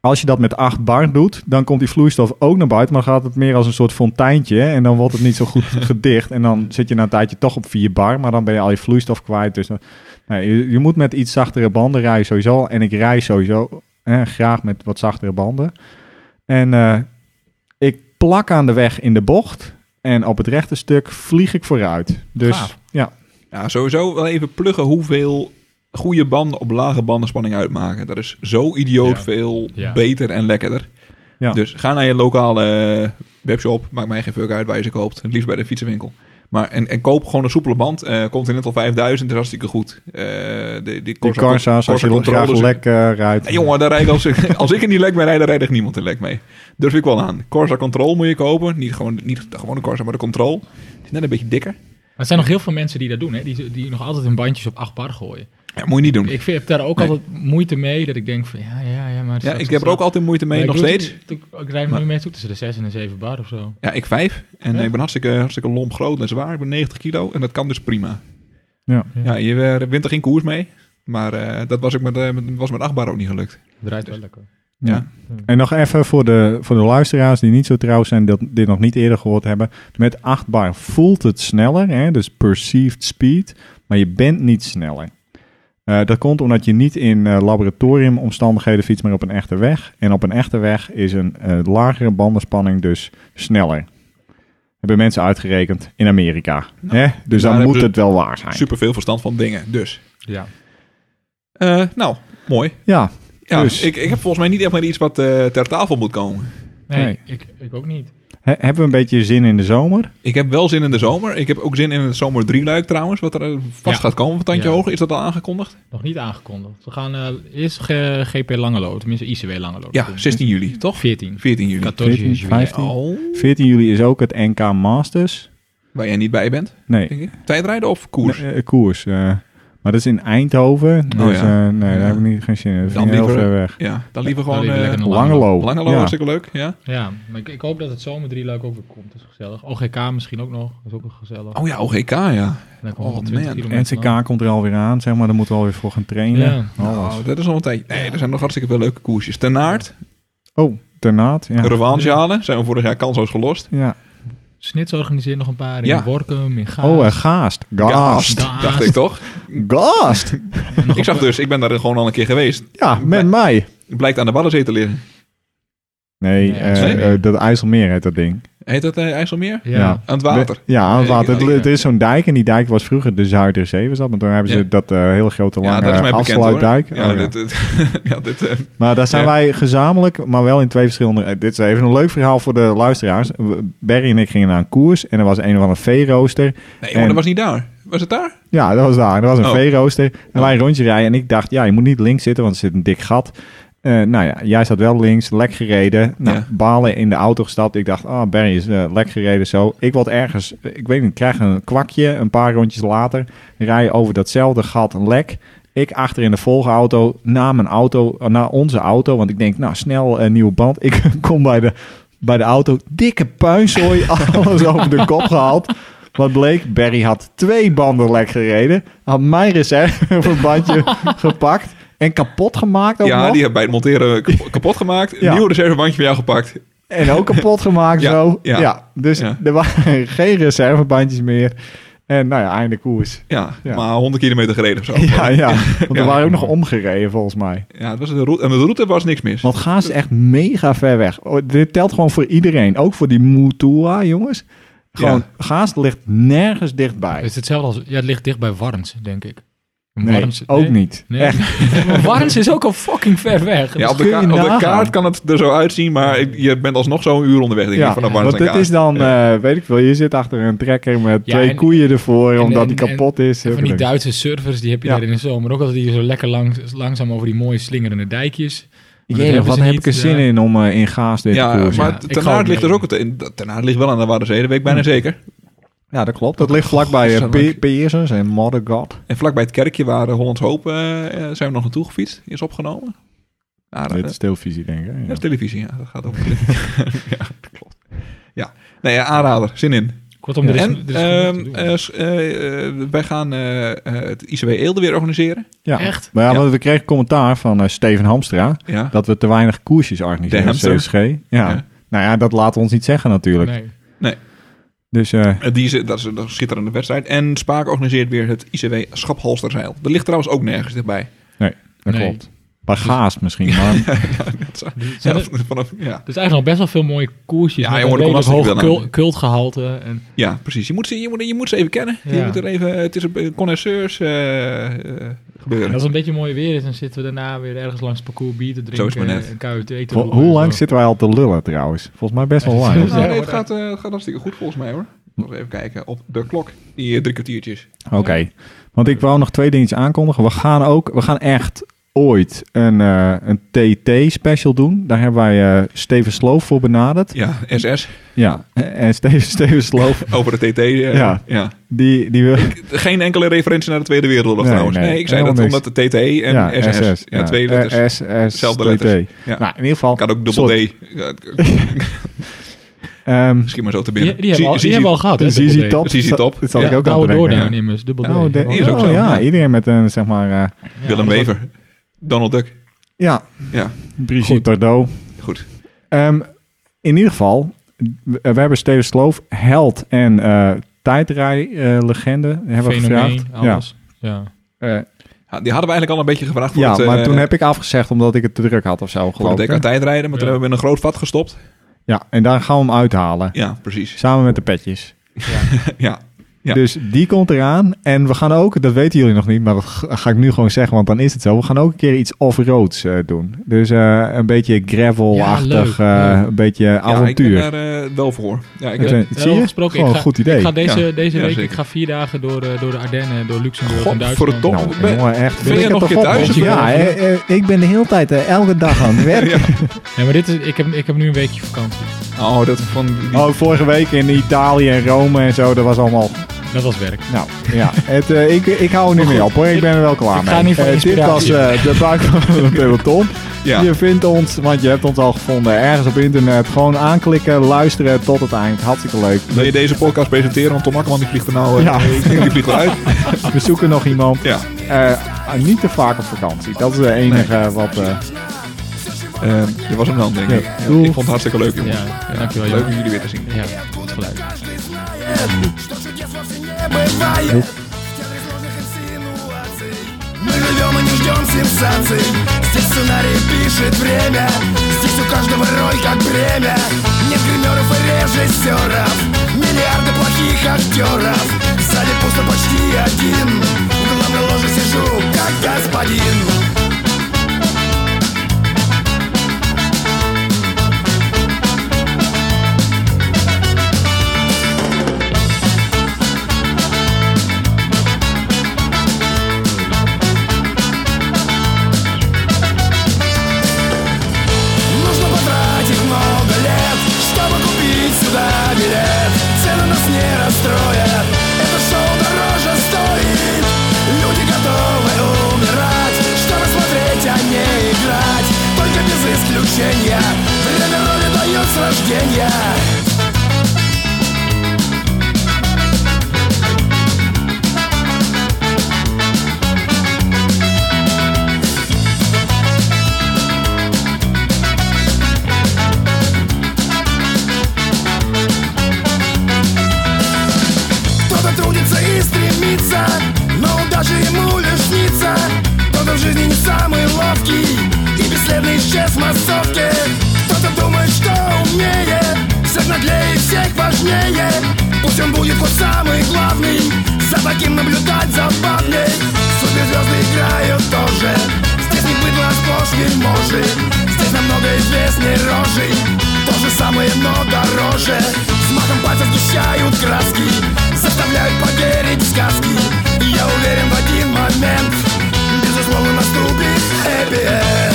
[SPEAKER 1] Als je dat met 8 bar doet, dan komt die vloeistof ook naar buiten, maar dan gaat het meer als een soort fonteintje hè, en dan wordt het niet zo goed gedicht. En dan zit je na een tijdje toch op 4 bar, maar dan ben je al je vloeistof kwijt. Dus dan- nee, je, je moet met iets zachtere banden rijden sowieso. En ik rij sowieso eh, graag met wat zachtere banden. En eh, ik plak aan de weg in de bocht. En op het rechte stuk vlieg ik vooruit. Dus
[SPEAKER 3] Gaaf.
[SPEAKER 1] ja,
[SPEAKER 2] Ja, sowieso wel even pluggen hoeveel goede banden op lage bandenspanning uitmaken. Dat is zo idioot
[SPEAKER 3] Ja.
[SPEAKER 2] veel
[SPEAKER 3] Ja.
[SPEAKER 2] beter en lekkerder.
[SPEAKER 1] Ja.
[SPEAKER 2] Dus ga naar je lokale eh, webshop. Maakt mij geen fuck uit waar je ze koopt. Het liefst bij de fietsenwinkel. Maar, en, en koop gewoon een soepele band. Eh Continental 5000 is hartstikke goed. Eh die die
[SPEAKER 1] die
[SPEAKER 2] Corsa-
[SPEAKER 1] Corsa's, als
[SPEAKER 2] Corsa
[SPEAKER 1] je graag
[SPEAKER 2] controllers-
[SPEAKER 1] lek eh, rijdt.
[SPEAKER 2] Nee, jongen, daar rijd ik als, ik- als ik er niet lek mee rijd, dan rijdt echt niemand er lek mee. Durf ik wel aan. Corsa Control moet je kopen. Niet gewoon, niet de gewone Corsa, maar de Control. Het is net een beetje dikker.
[SPEAKER 3] Maar er zijn nog heel veel mensen die dat doen, hè? Die, die nog altijd hun bandjes op 8 bar gooien.
[SPEAKER 2] Ja, moet je niet doen.
[SPEAKER 3] Ik vind, heb daar ook
[SPEAKER 2] Nee.
[SPEAKER 3] altijd moeite mee, dat ik denk van, ja, ja, ja, maar...
[SPEAKER 2] Ja, ik heb er ook altijd moeite mee, nog steeds.
[SPEAKER 3] Ik, ik rijd me
[SPEAKER 2] Maar-
[SPEAKER 3] nu mee toe tussen de 6 en de 7 bar of zo.
[SPEAKER 2] Ja, ik vijf. En
[SPEAKER 3] Ja.
[SPEAKER 2] ik ben hartstikke, hartstikke lomp groot en zwaar. Ik ben 90 kilo en dat kan dus prima.
[SPEAKER 1] Ja.
[SPEAKER 2] Ja, je eh, wint er geen koers mee. Maar eh, dat was, ik met, eh, met- was met achtbaar ook niet gelukt.
[SPEAKER 3] Draait
[SPEAKER 2] Dus-
[SPEAKER 3] wel lekker.
[SPEAKER 1] Ja.
[SPEAKER 2] Ja.
[SPEAKER 1] En nog even voor de, voor de luisteraars die niet zo trouw zijn, dat dit nog niet eerder gehoord hebben. Met 8 bar voelt het sneller, hè? dus perceived speed, maar je bent niet sneller. Eh, dat komt omdat je niet in eh, laboratoriumomstandigheden fietst, maar op een echte weg. En op een echte weg is een eh, lagere bandenspanning dus sneller. Hebben mensen uitgerekend in Amerika.
[SPEAKER 2] Nou,
[SPEAKER 1] hè? Dus dan
[SPEAKER 2] daar hebben
[SPEAKER 1] moet
[SPEAKER 2] ze
[SPEAKER 1] het wel waar zijn.
[SPEAKER 2] Super veel verstand van dingen. Dus.
[SPEAKER 3] Ja.
[SPEAKER 2] Eh, nou, mooi.
[SPEAKER 1] Ja,
[SPEAKER 2] Ja,
[SPEAKER 1] Dus.
[SPEAKER 2] ik, ik heb volgens mij niet echt meer iets wat eh, ter tafel moet komen.
[SPEAKER 3] Nee,
[SPEAKER 1] Nee.
[SPEAKER 3] Ik, ik ook niet.
[SPEAKER 1] He- hebben we een beetje zin in de zomer?
[SPEAKER 2] Ik heb wel zin in de zomer. Ik heb ook zin in het zomer drieluik trouwens. Wat er eh, vast
[SPEAKER 3] Ja.
[SPEAKER 2] gaat komen van tandje
[SPEAKER 3] Ja.
[SPEAKER 2] hoger. Is dat al aangekondigd?
[SPEAKER 3] Nog niet aangekondigd. We gaan eh, eerst eh, GP Langelo, tenminste ICW Langelo.
[SPEAKER 2] Ja, 16 juli. Toch?
[SPEAKER 3] 14.
[SPEAKER 2] 14 juli.
[SPEAKER 3] 14
[SPEAKER 1] 14,
[SPEAKER 3] juli.
[SPEAKER 1] 15.
[SPEAKER 2] Oh,
[SPEAKER 1] 14 juli is ook het NK Masters.
[SPEAKER 2] waar jij niet bij bent,
[SPEAKER 1] Nee,
[SPEAKER 2] denk ik. Tijdrijden of koers?
[SPEAKER 1] Nee, eh, koers. eh. maar dat is in Eindhoven. Dus,
[SPEAKER 2] Oh ja.
[SPEAKER 1] eh, nee,
[SPEAKER 2] Ja.
[SPEAKER 1] daar heb ik niet, geen zin in. Dat
[SPEAKER 2] Dan
[SPEAKER 1] vind ik heel
[SPEAKER 2] liever-
[SPEAKER 1] ver weg.
[SPEAKER 2] Ja, dan liever gewoon...
[SPEAKER 3] Dan liever
[SPEAKER 2] eh,
[SPEAKER 3] lekker
[SPEAKER 1] Langelo.
[SPEAKER 2] Langelo,
[SPEAKER 1] Ja.
[SPEAKER 2] hartstikke leuk. Ja.
[SPEAKER 3] Ja, maar ik, ik hoop dat het zomer drie leuk ook weer komt. Dat is gezellig. OGK misschien ook nog. Dat is ook wel gezellig.
[SPEAKER 2] Oh ja, OGK, ja.
[SPEAKER 3] Dan
[SPEAKER 2] oh,
[SPEAKER 3] komt 120
[SPEAKER 2] man.
[SPEAKER 3] kilometer lang.
[SPEAKER 1] NCK komt er alweer aan, zeg maar. Daar moeten we alweer voor gaan trainen.
[SPEAKER 3] Ja.
[SPEAKER 1] Alles.
[SPEAKER 2] Oh, dat is nog een tijdje. Nee, er zijn nog hartstikke veel leuke koersjes. Ten Aard,
[SPEAKER 1] Oh, Ternaat. Ja.
[SPEAKER 2] Revanche halen, zijn we vorig jaar kansloos gelost.
[SPEAKER 1] ja.
[SPEAKER 3] Snits organiseert nog een paar in
[SPEAKER 2] Ja.
[SPEAKER 3] Workum, in Gaas.
[SPEAKER 1] Oh, eh, Gaast. Gaast.
[SPEAKER 3] Gaast.
[SPEAKER 2] dacht ik toch?
[SPEAKER 1] Gaast.
[SPEAKER 3] En nog
[SPEAKER 2] Ik zag
[SPEAKER 3] op-
[SPEAKER 2] dus, ik ben daar gewoon al een keer geweest.
[SPEAKER 1] Ja, met mij.
[SPEAKER 2] Blijkt aan de Waddenzee te liggen.
[SPEAKER 1] Nee,
[SPEAKER 3] Nee,
[SPEAKER 1] eh,
[SPEAKER 3] sorry.
[SPEAKER 1] eh, dat IJsselmeer heet dat ding.
[SPEAKER 2] Heet dat eh, IJsselmeer?
[SPEAKER 3] Ja.
[SPEAKER 1] Ja.
[SPEAKER 2] Aan het water.
[SPEAKER 1] We- ja, aan het
[SPEAKER 2] Nee,
[SPEAKER 1] water.
[SPEAKER 2] ik-
[SPEAKER 1] Het- Er is zo'n dijk en die dijk was vroeger de Zuiderzee, was dat? Maar toen hebben ze
[SPEAKER 2] Ja.
[SPEAKER 1] dat eh, hele grote
[SPEAKER 2] ja,
[SPEAKER 1] lange
[SPEAKER 2] dat is mij bekend hoor.
[SPEAKER 1] afsluitdijk.
[SPEAKER 2] Ja,
[SPEAKER 1] Oh, ja.
[SPEAKER 2] dit, dit- ja, dit, eh,
[SPEAKER 1] Maar daar zijn
[SPEAKER 2] Ja.
[SPEAKER 1] wij gezamenlijk, maar wel in twee verschillende... eh, Dit is even een leuk verhaal voor de luisteraars. We- Barry en ik gingen naar een koers en er was een of andere veerooster.
[SPEAKER 2] nee, maar
[SPEAKER 1] En-
[SPEAKER 2] dat was niet daar. Was het daar?
[SPEAKER 1] Ja, dat was daar. Dat was een
[SPEAKER 2] Oh.
[SPEAKER 1] veerooster. En wij een rondje rijden en ik dacht, ja, je moet niet links zitten, want er zit een dik gat. Eh, nou ja, jij zat wel links, lek gereden. Nou,
[SPEAKER 2] Ja.
[SPEAKER 1] balen in de auto gestapt. Ik dacht, ah, Barry is eh, lek gereden zo. Ik word ergens, eh, ik weet niet, ik krijg een kwakje een paar rondjes later. Rij je over datzelfde gat een lek. Ik achter in de volgauto, na mijn auto, eh, na onze auto. Want ik denk, nou, snel een nieuwe band. Ik kom bij de, bij de auto, dikke puinzooi, alles over de kop gehaald. Wat bleek, Barry had twee banden lek gereden. Had mijn reservebandje gepakt en kapot gemaakt ook
[SPEAKER 2] ja,
[SPEAKER 1] nog.
[SPEAKER 2] die hebben bij het monteren kap- kapot gemaakt.
[SPEAKER 1] Ja.
[SPEAKER 2] Een nieuw reservebandje van jou gepakt.
[SPEAKER 1] En ook kapot gemaakt
[SPEAKER 2] Ja,
[SPEAKER 1] zo. Ja,
[SPEAKER 2] ja.
[SPEAKER 1] dus
[SPEAKER 2] Ja.
[SPEAKER 1] er waren geen reservebandjes meer. En nou ja, einde koers.
[SPEAKER 2] Ja,
[SPEAKER 1] Ja.
[SPEAKER 2] maar 100 kilometer gereden of zo.
[SPEAKER 1] Ja, ja. Want er
[SPEAKER 2] Oh, Ja.
[SPEAKER 1] waren ook nog omgereden volgens mij.
[SPEAKER 2] Ja, het was de route, en met de route was niks mis.
[SPEAKER 1] Want Gaas is echt mega ver weg. Oh, dit telt gewoon voor iedereen. Ook voor die Mutua, jongens. Gewoon, Gaas ligt nergens dichtbij.
[SPEAKER 3] Het is hetzelfde als... Ja, het ligt dicht bij Warns, denk ik.
[SPEAKER 1] nee,
[SPEAKER 3] Warns-
[SPEAKER 1] ook
[SPEAKER 3] nee?
[SPEAKER 1] niet.
[SPEAKER 3] Nee.
[SPEAKER 1] Echt.
[SPEAKER 3] Maar Warns is ook al fucking ver weg.
[SPEAKER 2] Ja,
[SPEAKER 3] Dat
[SPEAKER 2] op de,
[SPEAKER 1] kun
[SPEAKER 2] ka-
[SPEAKER 1] je
[SPEAKER 2] op de
[SPEAKER 1] nagaan.
[SPEAKER 2] kaart kan het er zo uitzien, maar ik- je bent alsnog zo'n uur onderweg, denk ik,
[SPEAKER 1] Ja,
[SPEAKER 2] vanaf Warns
[SPEAKER 1] want
[SPEAKER 2] naar
[SPEAKER 1] dit
[SPEAKER 2] Kaart.
[SPEAKER 1] is dan, eh, weet ik veel, je zit achter een trekker met
[SPEAKER 3] Ja,
[SPEAKER 1] twee
[SPEAKER 3] en-
[SPEAKER 1] koeien ervoor,
[SPEAKER 3] en-
[SPEAKER 1] omdat
[SPEAKER 3] en-
[SPEAKER 1] die
[SPEAKER 3] en-
[SPEAKER 1] kapot is.
[SPEAKER 3] Van die
[SPEAKER 1] Huppelen.
[SPEAKER 3] Duitse servers, die heb je
[SPEAKER 1] Ja.
[SPEAKER 3] daar in de zomer ook. Altijd die zo lekker langs, langzaam over die mooie slingerende dijkjes. dat
[SPEAKER 1] Jee,
[SPEAKER 3] hebben
[SPEAKER 1] wat
[SPEAKER 3] ze
[SPEAKER 1] heb
[SPEAKER 3] niet,
[SPEAKER 1] ik er zin
[SPEAKER 3] ja.
[SPEAKER 1] in om eh, in Gaas dit
[SPEAKER 2] Ja,
[SPEAKER 1] koers?
[SPEAKER 2] maar
[SPEAKER 3] ja. Ik
[SPEAKER 2] ten
[SPEAKER 3] ga ook
[SPEAKER 2] aard ligt
[SPEAKER 3] mee.
[SPEAKER 2] dus ook... het- in- Ten aard ligt wel aan de Waardenzee, dat weet ik bijna zeker.
[SPEAKER 1] Ja, dat klopt. Dat ligt vlakbij
[SPEAKER 2] God,
[SPEAKER 1] eh,
[SPEAKER 2] zo
[SPEAKER 1] Pe- Peersens en Moddergod.
[SPEAKER 2] En vlakbij het kerkje waar eh, Hollands Hoop eh, eh, zijn we nog naartoe gefietst, is opgenomen. Ah, dat,
[SPEAKER 1] Dit is televisie, denk ik. hè?
[SPEAKER 2] dat is televisie, ja, dat gaat over televisie. ja, dat klopt. Ja, nee, ja, aanrader, zin in.
[SPEAKER 3] Kortom, er is, er
[SPEAKER 2] en
[SPEAKER 3] is genoeg te
[SPEAKER 2] ehm,
[SPEAKER 3] doen.
[SPEAKER 2] eh, s- eh, eh, wij gaan eh, eh, het ICW Eelde weer organiseren.
[SPEAKER 1] Ja.
[SPEAKER 3] Echt?
[SPEAKER 1] Maar ja,
[SPEAKER 2] Ja.
[SPEAKER 1] want we kregen commentaar van eh, Steven Hamstra
[SPEAKER 2] Ja.
[SPEAKER 1] dat we te weinig koersjes
[SPEAKER 2] De
[SPEAKER 1] organiseren
[SPEAKER 2] hamster.
[SPEAKER 1] CSG. Ja.
[SPEAKER 2] Ja.
[SPEAKER 1] Nou ja, dat laten we ons niet zeggen natuurlijk.
[SPEAKER 3] Nee.
[SPEAKER 1] Dus eh,
[SPEAKER 2] Eh, Die is, dat, is, dat is een schitterende wedstrijd. En Spaak organiseert weer het ICW Schaphalsterzeil. Dat ligt trouwens ook nergens dichtbij.
[SPEAKER 1] dat
[SPEAKER 3] Nee. Dus-
[SPEAKER 1] klopt. Bij Gaas misschien, maar
[SPEAKER 2] Dat is-
[SPEAKER 3] Zijn
[SPEAKER 2] ja,
[SPEAKER 3] er-
[SPEAKER 2] van- vanaf, ja.
[SPEAKER 3] Er is eigenlijk nog best wel veel mooie koersjes.
[SPEAKER 2] Ja,
[SPEAKER 3] met
[SPEAKER 2] jongen,
[SPEAKER 3] een
[SPEAKER 2] er komt
[SPEAKER 3] redelijk
[SPEAKER 2] hartstikke
[SPEAKER 3] hoog
[SPEAKER 2] veel aan.
[SPEAKER 3] cult- cultgehalte. En,
[SPEAKER 2] ja, precies. Je moet, ze, je, moet, je moet ze even kennen. Je
[SPEAKER 3] Ja.
[SPEAKER 2] moet er even, het is een connoisseurs eh, eh, gebeuren.
[SPEAKER 3] en als het een beetje mooi weer is, dan zitten we daarna weer ergens langs het parcours bier te
[SPEAKER 2] Zo is
[SPEAKER 3] drinken.
[SPEAKER 2] het maar net.
[SPEAKER 3] En KUT te
[SPEAKER 1] ho-
[SPEAKER 3] roepen
[SPEAKER 1] hoe
[SPEAKER 3] en
[SPEAKER 1] lang
[SPEAKER 3] zo.
[SPEAKER 1] zitten wij al te lullen trouwens? Volgens mij best wel lang.
[SPEAKER 3] Echt?
[SPEAKER 2] Nou, nee,
[SPEAKER 3] Ja,
[SPEAKER 2] het
[SPEAKER 3] hoor.
[SPEAKER 2] gaat, eh, het gaat hartstikke goed volgens mij hoor. Nog even kijken op de klok. Die eh, drie kwartiertjes.
[SPEAKER 1] Oké, want ik wou nog twee dingetjes aankondigen. We gaan ook, we gaan echt ooit een, eh, een TT-special doen. Daar hebben wij eh, Steven Sloof voor benaderd.
[SPEAKER 2] Ja, SS.
[SPEAKER 1] Ja, en Steven, Steven Sloof,
[SPEAKER 2] Over de TT. eh,
[SPEAKER 1] Ja.
[SPEAKER 2] ja.
[SPEAKER 1] die, die wil...
[SPEAKER 2] Geen enkele referentie naar de Tweede Wereldoorlog
[SPEAKER 1] Nee,
[SPEAKER 2] trouwens.
[SPEAKER 1] nee,
[SPEAKER 2] Nee, ik zei dat
[SPEAKER 1] helemaal niks.
[SPEAKER 2] omdat de TT en
[SPEAKER 1] ja,
[SPEAKER 2] SS. Ja, twee letters.
[SPEAKER 1] Eh, SS,
[SPEAKER 2] Zelfde
[SPEAKER 1] TT.
[SPEAKER 2] letters. Ja.
[SPEAKER 1] Nou, in ieder geval...
[SPEAKER 2] kan ook dubbel D.
[SPEAKER 1] soort,
[SPEAKER 2] Ja, ik-
[SPEAKER 1] ehm,
[SPEAKER 2] Misschien maar zo te
[SPEAKER 3] Die,
[SPEAKER 2] binnen.
[SPEAKER 3] die, hebben, we al, die
[SPEAKER 2] Zie-
[SPEAKER 3] hebben we al gehad, hè?
[SPEAKER 1] Zizi
[SPEAKER 3] dubbel D.
[SPEAKER 1] Top.
[SPEAKER 2] Zizi Top.
[SPEAKER 1] Dat zal ik
[SPEAKER 3] Ja,
[SPEAKER 1] ook aan
[SPEAKER 3] oude
[SPEAKER 1] te denken.
[SPEAKER 3] doornemers, dubbel D.
[SPEAKER 1] Oh, de-
[SPEAKER 2] is ook
[SPEAKER 1] oh,
[SPEAKER 2] zo.
[SPEAKER 1] ja, iedereen met een, zeg maar... eh,
[SPEAKER 3] Ja,
[SPEAKER 2] Willem
[SPEAKER 3] dat is
[SPEAKER 2] Wever. Donald Duck.
[SPEAKER 1] ja,
[SPEAKER 2] Ja,
[SPEAKER 1] Brigitte
[SPEAKER 3] Goed.
[SPEAKER 1] Bardot.
[SPEAKER 2] goed.
[SPEAKER 1] Ehm, in ieder geval, we we hebben Steven Sloof, held en eh tijdrijlegende, hebben we
[SPEAKER 3] Fenomeen,
[SPEAKER 1] gevraagd. Ja,
[SPEAKER 3] alles. Ja.
[SPEAKER 1] Eh,
[SPEAKER 2] Ja, die hadden we eigenlijk al een beetje gevraagd voor
[SPEAKER 1] ja
[SPEAKER 2] het, eh,
[SPEAKER 1] maar toen heb ik afgezegd omdat ik het te druk had of zo,
[SPEAKER 2] voor
[SPEAKER 1] geloof
[SPEAKER 2] de
[SPEAKER 1] ik.
[SPEAKER 2] DK tijdrijden. Maar toen
[SPEAKER 3] Ja.
[SPEAKER 2] hebben we in een groot vat gestopt.
[SPEAKER 1] Ja, en daar gaan we hem uithalen.
[SPEAKER 2] Ja, precies.
[SPEAKER 1] Samen met de petjes.
[SPEAKER 2] Ja, Ja.
[SPEAKER 1] Dus die komt eraan. En we gaan ook, dat weten jullie nog niet, maar dat ga ga ik nu gewoon zeggen, want dan is het zo. We gaan ook een keer iets off-roads eh, doen. Dus eh, een beetje gravel-achtig,
[SPEAKER 3] Ja, leuk,
[SPEAKER 1] eh, een beetje
[SPEAKER 2] Ja, ik ben
[SPEAKER 1] avontuur.
[SPEAKER 2] daar eh, wel voor. Ja, ik
[SPEAKER 1] Het,
[SPEAKER 2] heb...
[SPEAKER 1] eh,
[SPEAKER 3] Ja,
[SPEAKER 1] zie je?
[SPEAKER 3] gesproken,
[SPEAKER 1] Gewoon
[SPEAKER 3] ik
[SPEAKER 1] een
[SPEAKER 3] ga-
[SPEAKER 1] goed idee.
[SPEAKER 3] Ik ga deze,
[SPEAKER 2] Ja.
[SPEAKER 3] deze
[SPEAKER 2] Ja,
[SPEAKER 3] week,
[SPEAKER 2] zeker.
[SPEAKER 3] ik ga vier dagen door, eh, door de Ardennen, door Luxemburg en Duitsland.
[SPEAKER 2] Godverdomme.
[SPEAKER 1] Nou,
[SPEAKER 2] Ben-
[SPEAKER 1] jongen, echt.
[SPEAKER 2] Ben je
[SPEAKER 1] Ik
[SPEAKER 2] nog
[SPEAKER 1] heb
[SPEAKER 2] een
[SPEAKER 1] er
[SPEAKER 2] keer
[SPEAKER 1] vol-
[SPEAKER 2] thuis?
[SPEAKER 1] Ja, eh, eh, ik ben de hele tijd, eh, elke dag aan het werk.
[SPEAKER 3] Ja, maar dit is, ik, heb, ik heb nu een weekje vakantie.
[SPEAKER 2] Oh, dat van... die-
[SPEAKER 1] Oh, vorige week in Italië en Rome en zo, dat was allemaal...
[SPEAKER 3] Dat was werk.
[SPEAKER 1] Nou, ja. Het, eh, ik, ik hou er niet
[SPEAKER 3] Maar
[SPEAKER 1] meer
[SPEAKER 3] goed,
[SPEAKER 1] op hoor, ik
[SPEAKER 3] ik-
[SPEAKER 1] ben er wel klaar
[SPEAKER 3] ik
[SPEAKER 1] mee.
[SPEAKER 3] ga niet voor
[SPEAKER 1] Eh, dit was
[SPEAKER 3] inspiratie.
[SPEAKER 1] eh, de buik van de peloton.
[SPEAKER 2] Ja.
[SPEAKER 1] Je vindt ons, want je hebt ons al gevonden, ergens op internet. Gewoon aanklikken, luisteren tot het eind. Hartstikke leuk.
[SPEAKER 2] Wil je deze podcast presenteren? Want Tom Akkerman die vliegt er nou... eh,
[SPEAKER 1] Ja.
[SPEAKER 2] Die vliegt eruit.
[SPEAKER 1] We zoeken nog iemand.
[SPEAKER 2] Ja.
[SPEAKER 1] Eh, niet te vaak op vakantie. Dat is de enige wat... eh,
[SPEAKER 2] Eh, dit was hem dan, denk ik.
[SPEAKER 1] Ja.
[SPEAKER 2] Ja,
[SPEAKER 1] Doei.
[SPEAKER 2] ik vond het hartstikke leuk, jongens.
[SPEAKER 3] Ja, dankjewel.
[SPEAKER 2] Leuk om
[SPEAKER 3] jongen.
[SPEAKER 2] jullie weer te zien.
[SPEAKER 3] Ja, goed geluid.
[SPEAKER 4] Что же я вовсе не бывает В театре сложных инсинуаций Мы живем и не ждем сенсаций Здесь сценарий пишет время Здесь у каждого роль как бремя Нет гримеров и режиссеров Миллиарды плохих актеров Сзади пусто почти один В главной ложе сижу как господин Нужно потратить много лет, чтобы купить сюда билет Цены нас не расстроят, это шоу дороже стоит Люди готовы умирать, чтобы смотреть, а не играть Только без исключения, время роли дает с рождения Кто-то трудится и тусовке Кто-то думает, что умнее Всех наглее, всех важнее Пусть он будет хоть самый главный За таким наблюдать забавней Суперзвезды играют тоже Здесь не быдло сплошь вельможи Здесь намного известней рожей То же самое, но дороже С махом пальцев сгущают краски Заставляют поверить в сказки И я уверен в один момент Безусловно наступит happy end.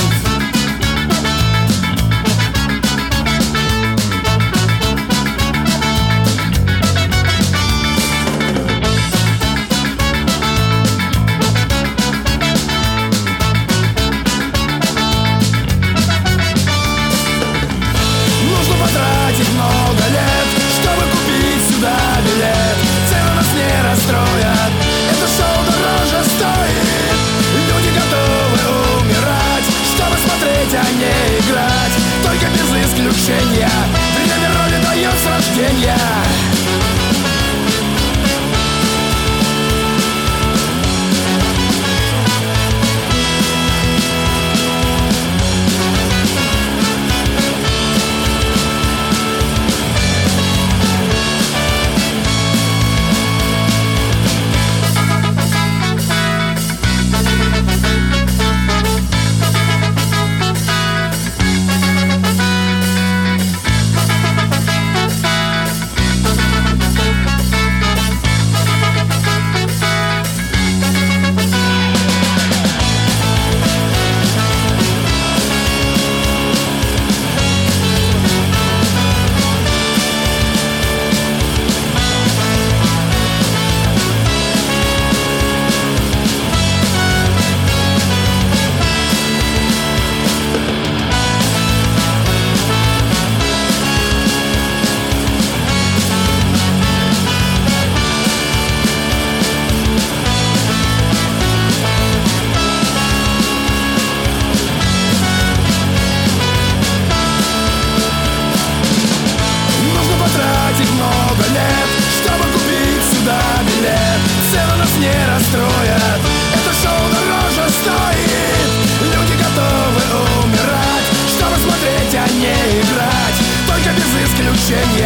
[SPEAKER 4] Нужно потратить много лет, чтобы купить сюда билет Цены нас не расстроят, это шоу дороже стоит Люди готовы умирать, чтобы смотреть, а не играть Только без исключения, время роли дает с рождения Нужно потратить много лет, чтобы купить сюда билет Цены нас не расстроят, это шоу дороже стоит Люди готовы умирать, чтобы смотреть, а не играть Только без исключения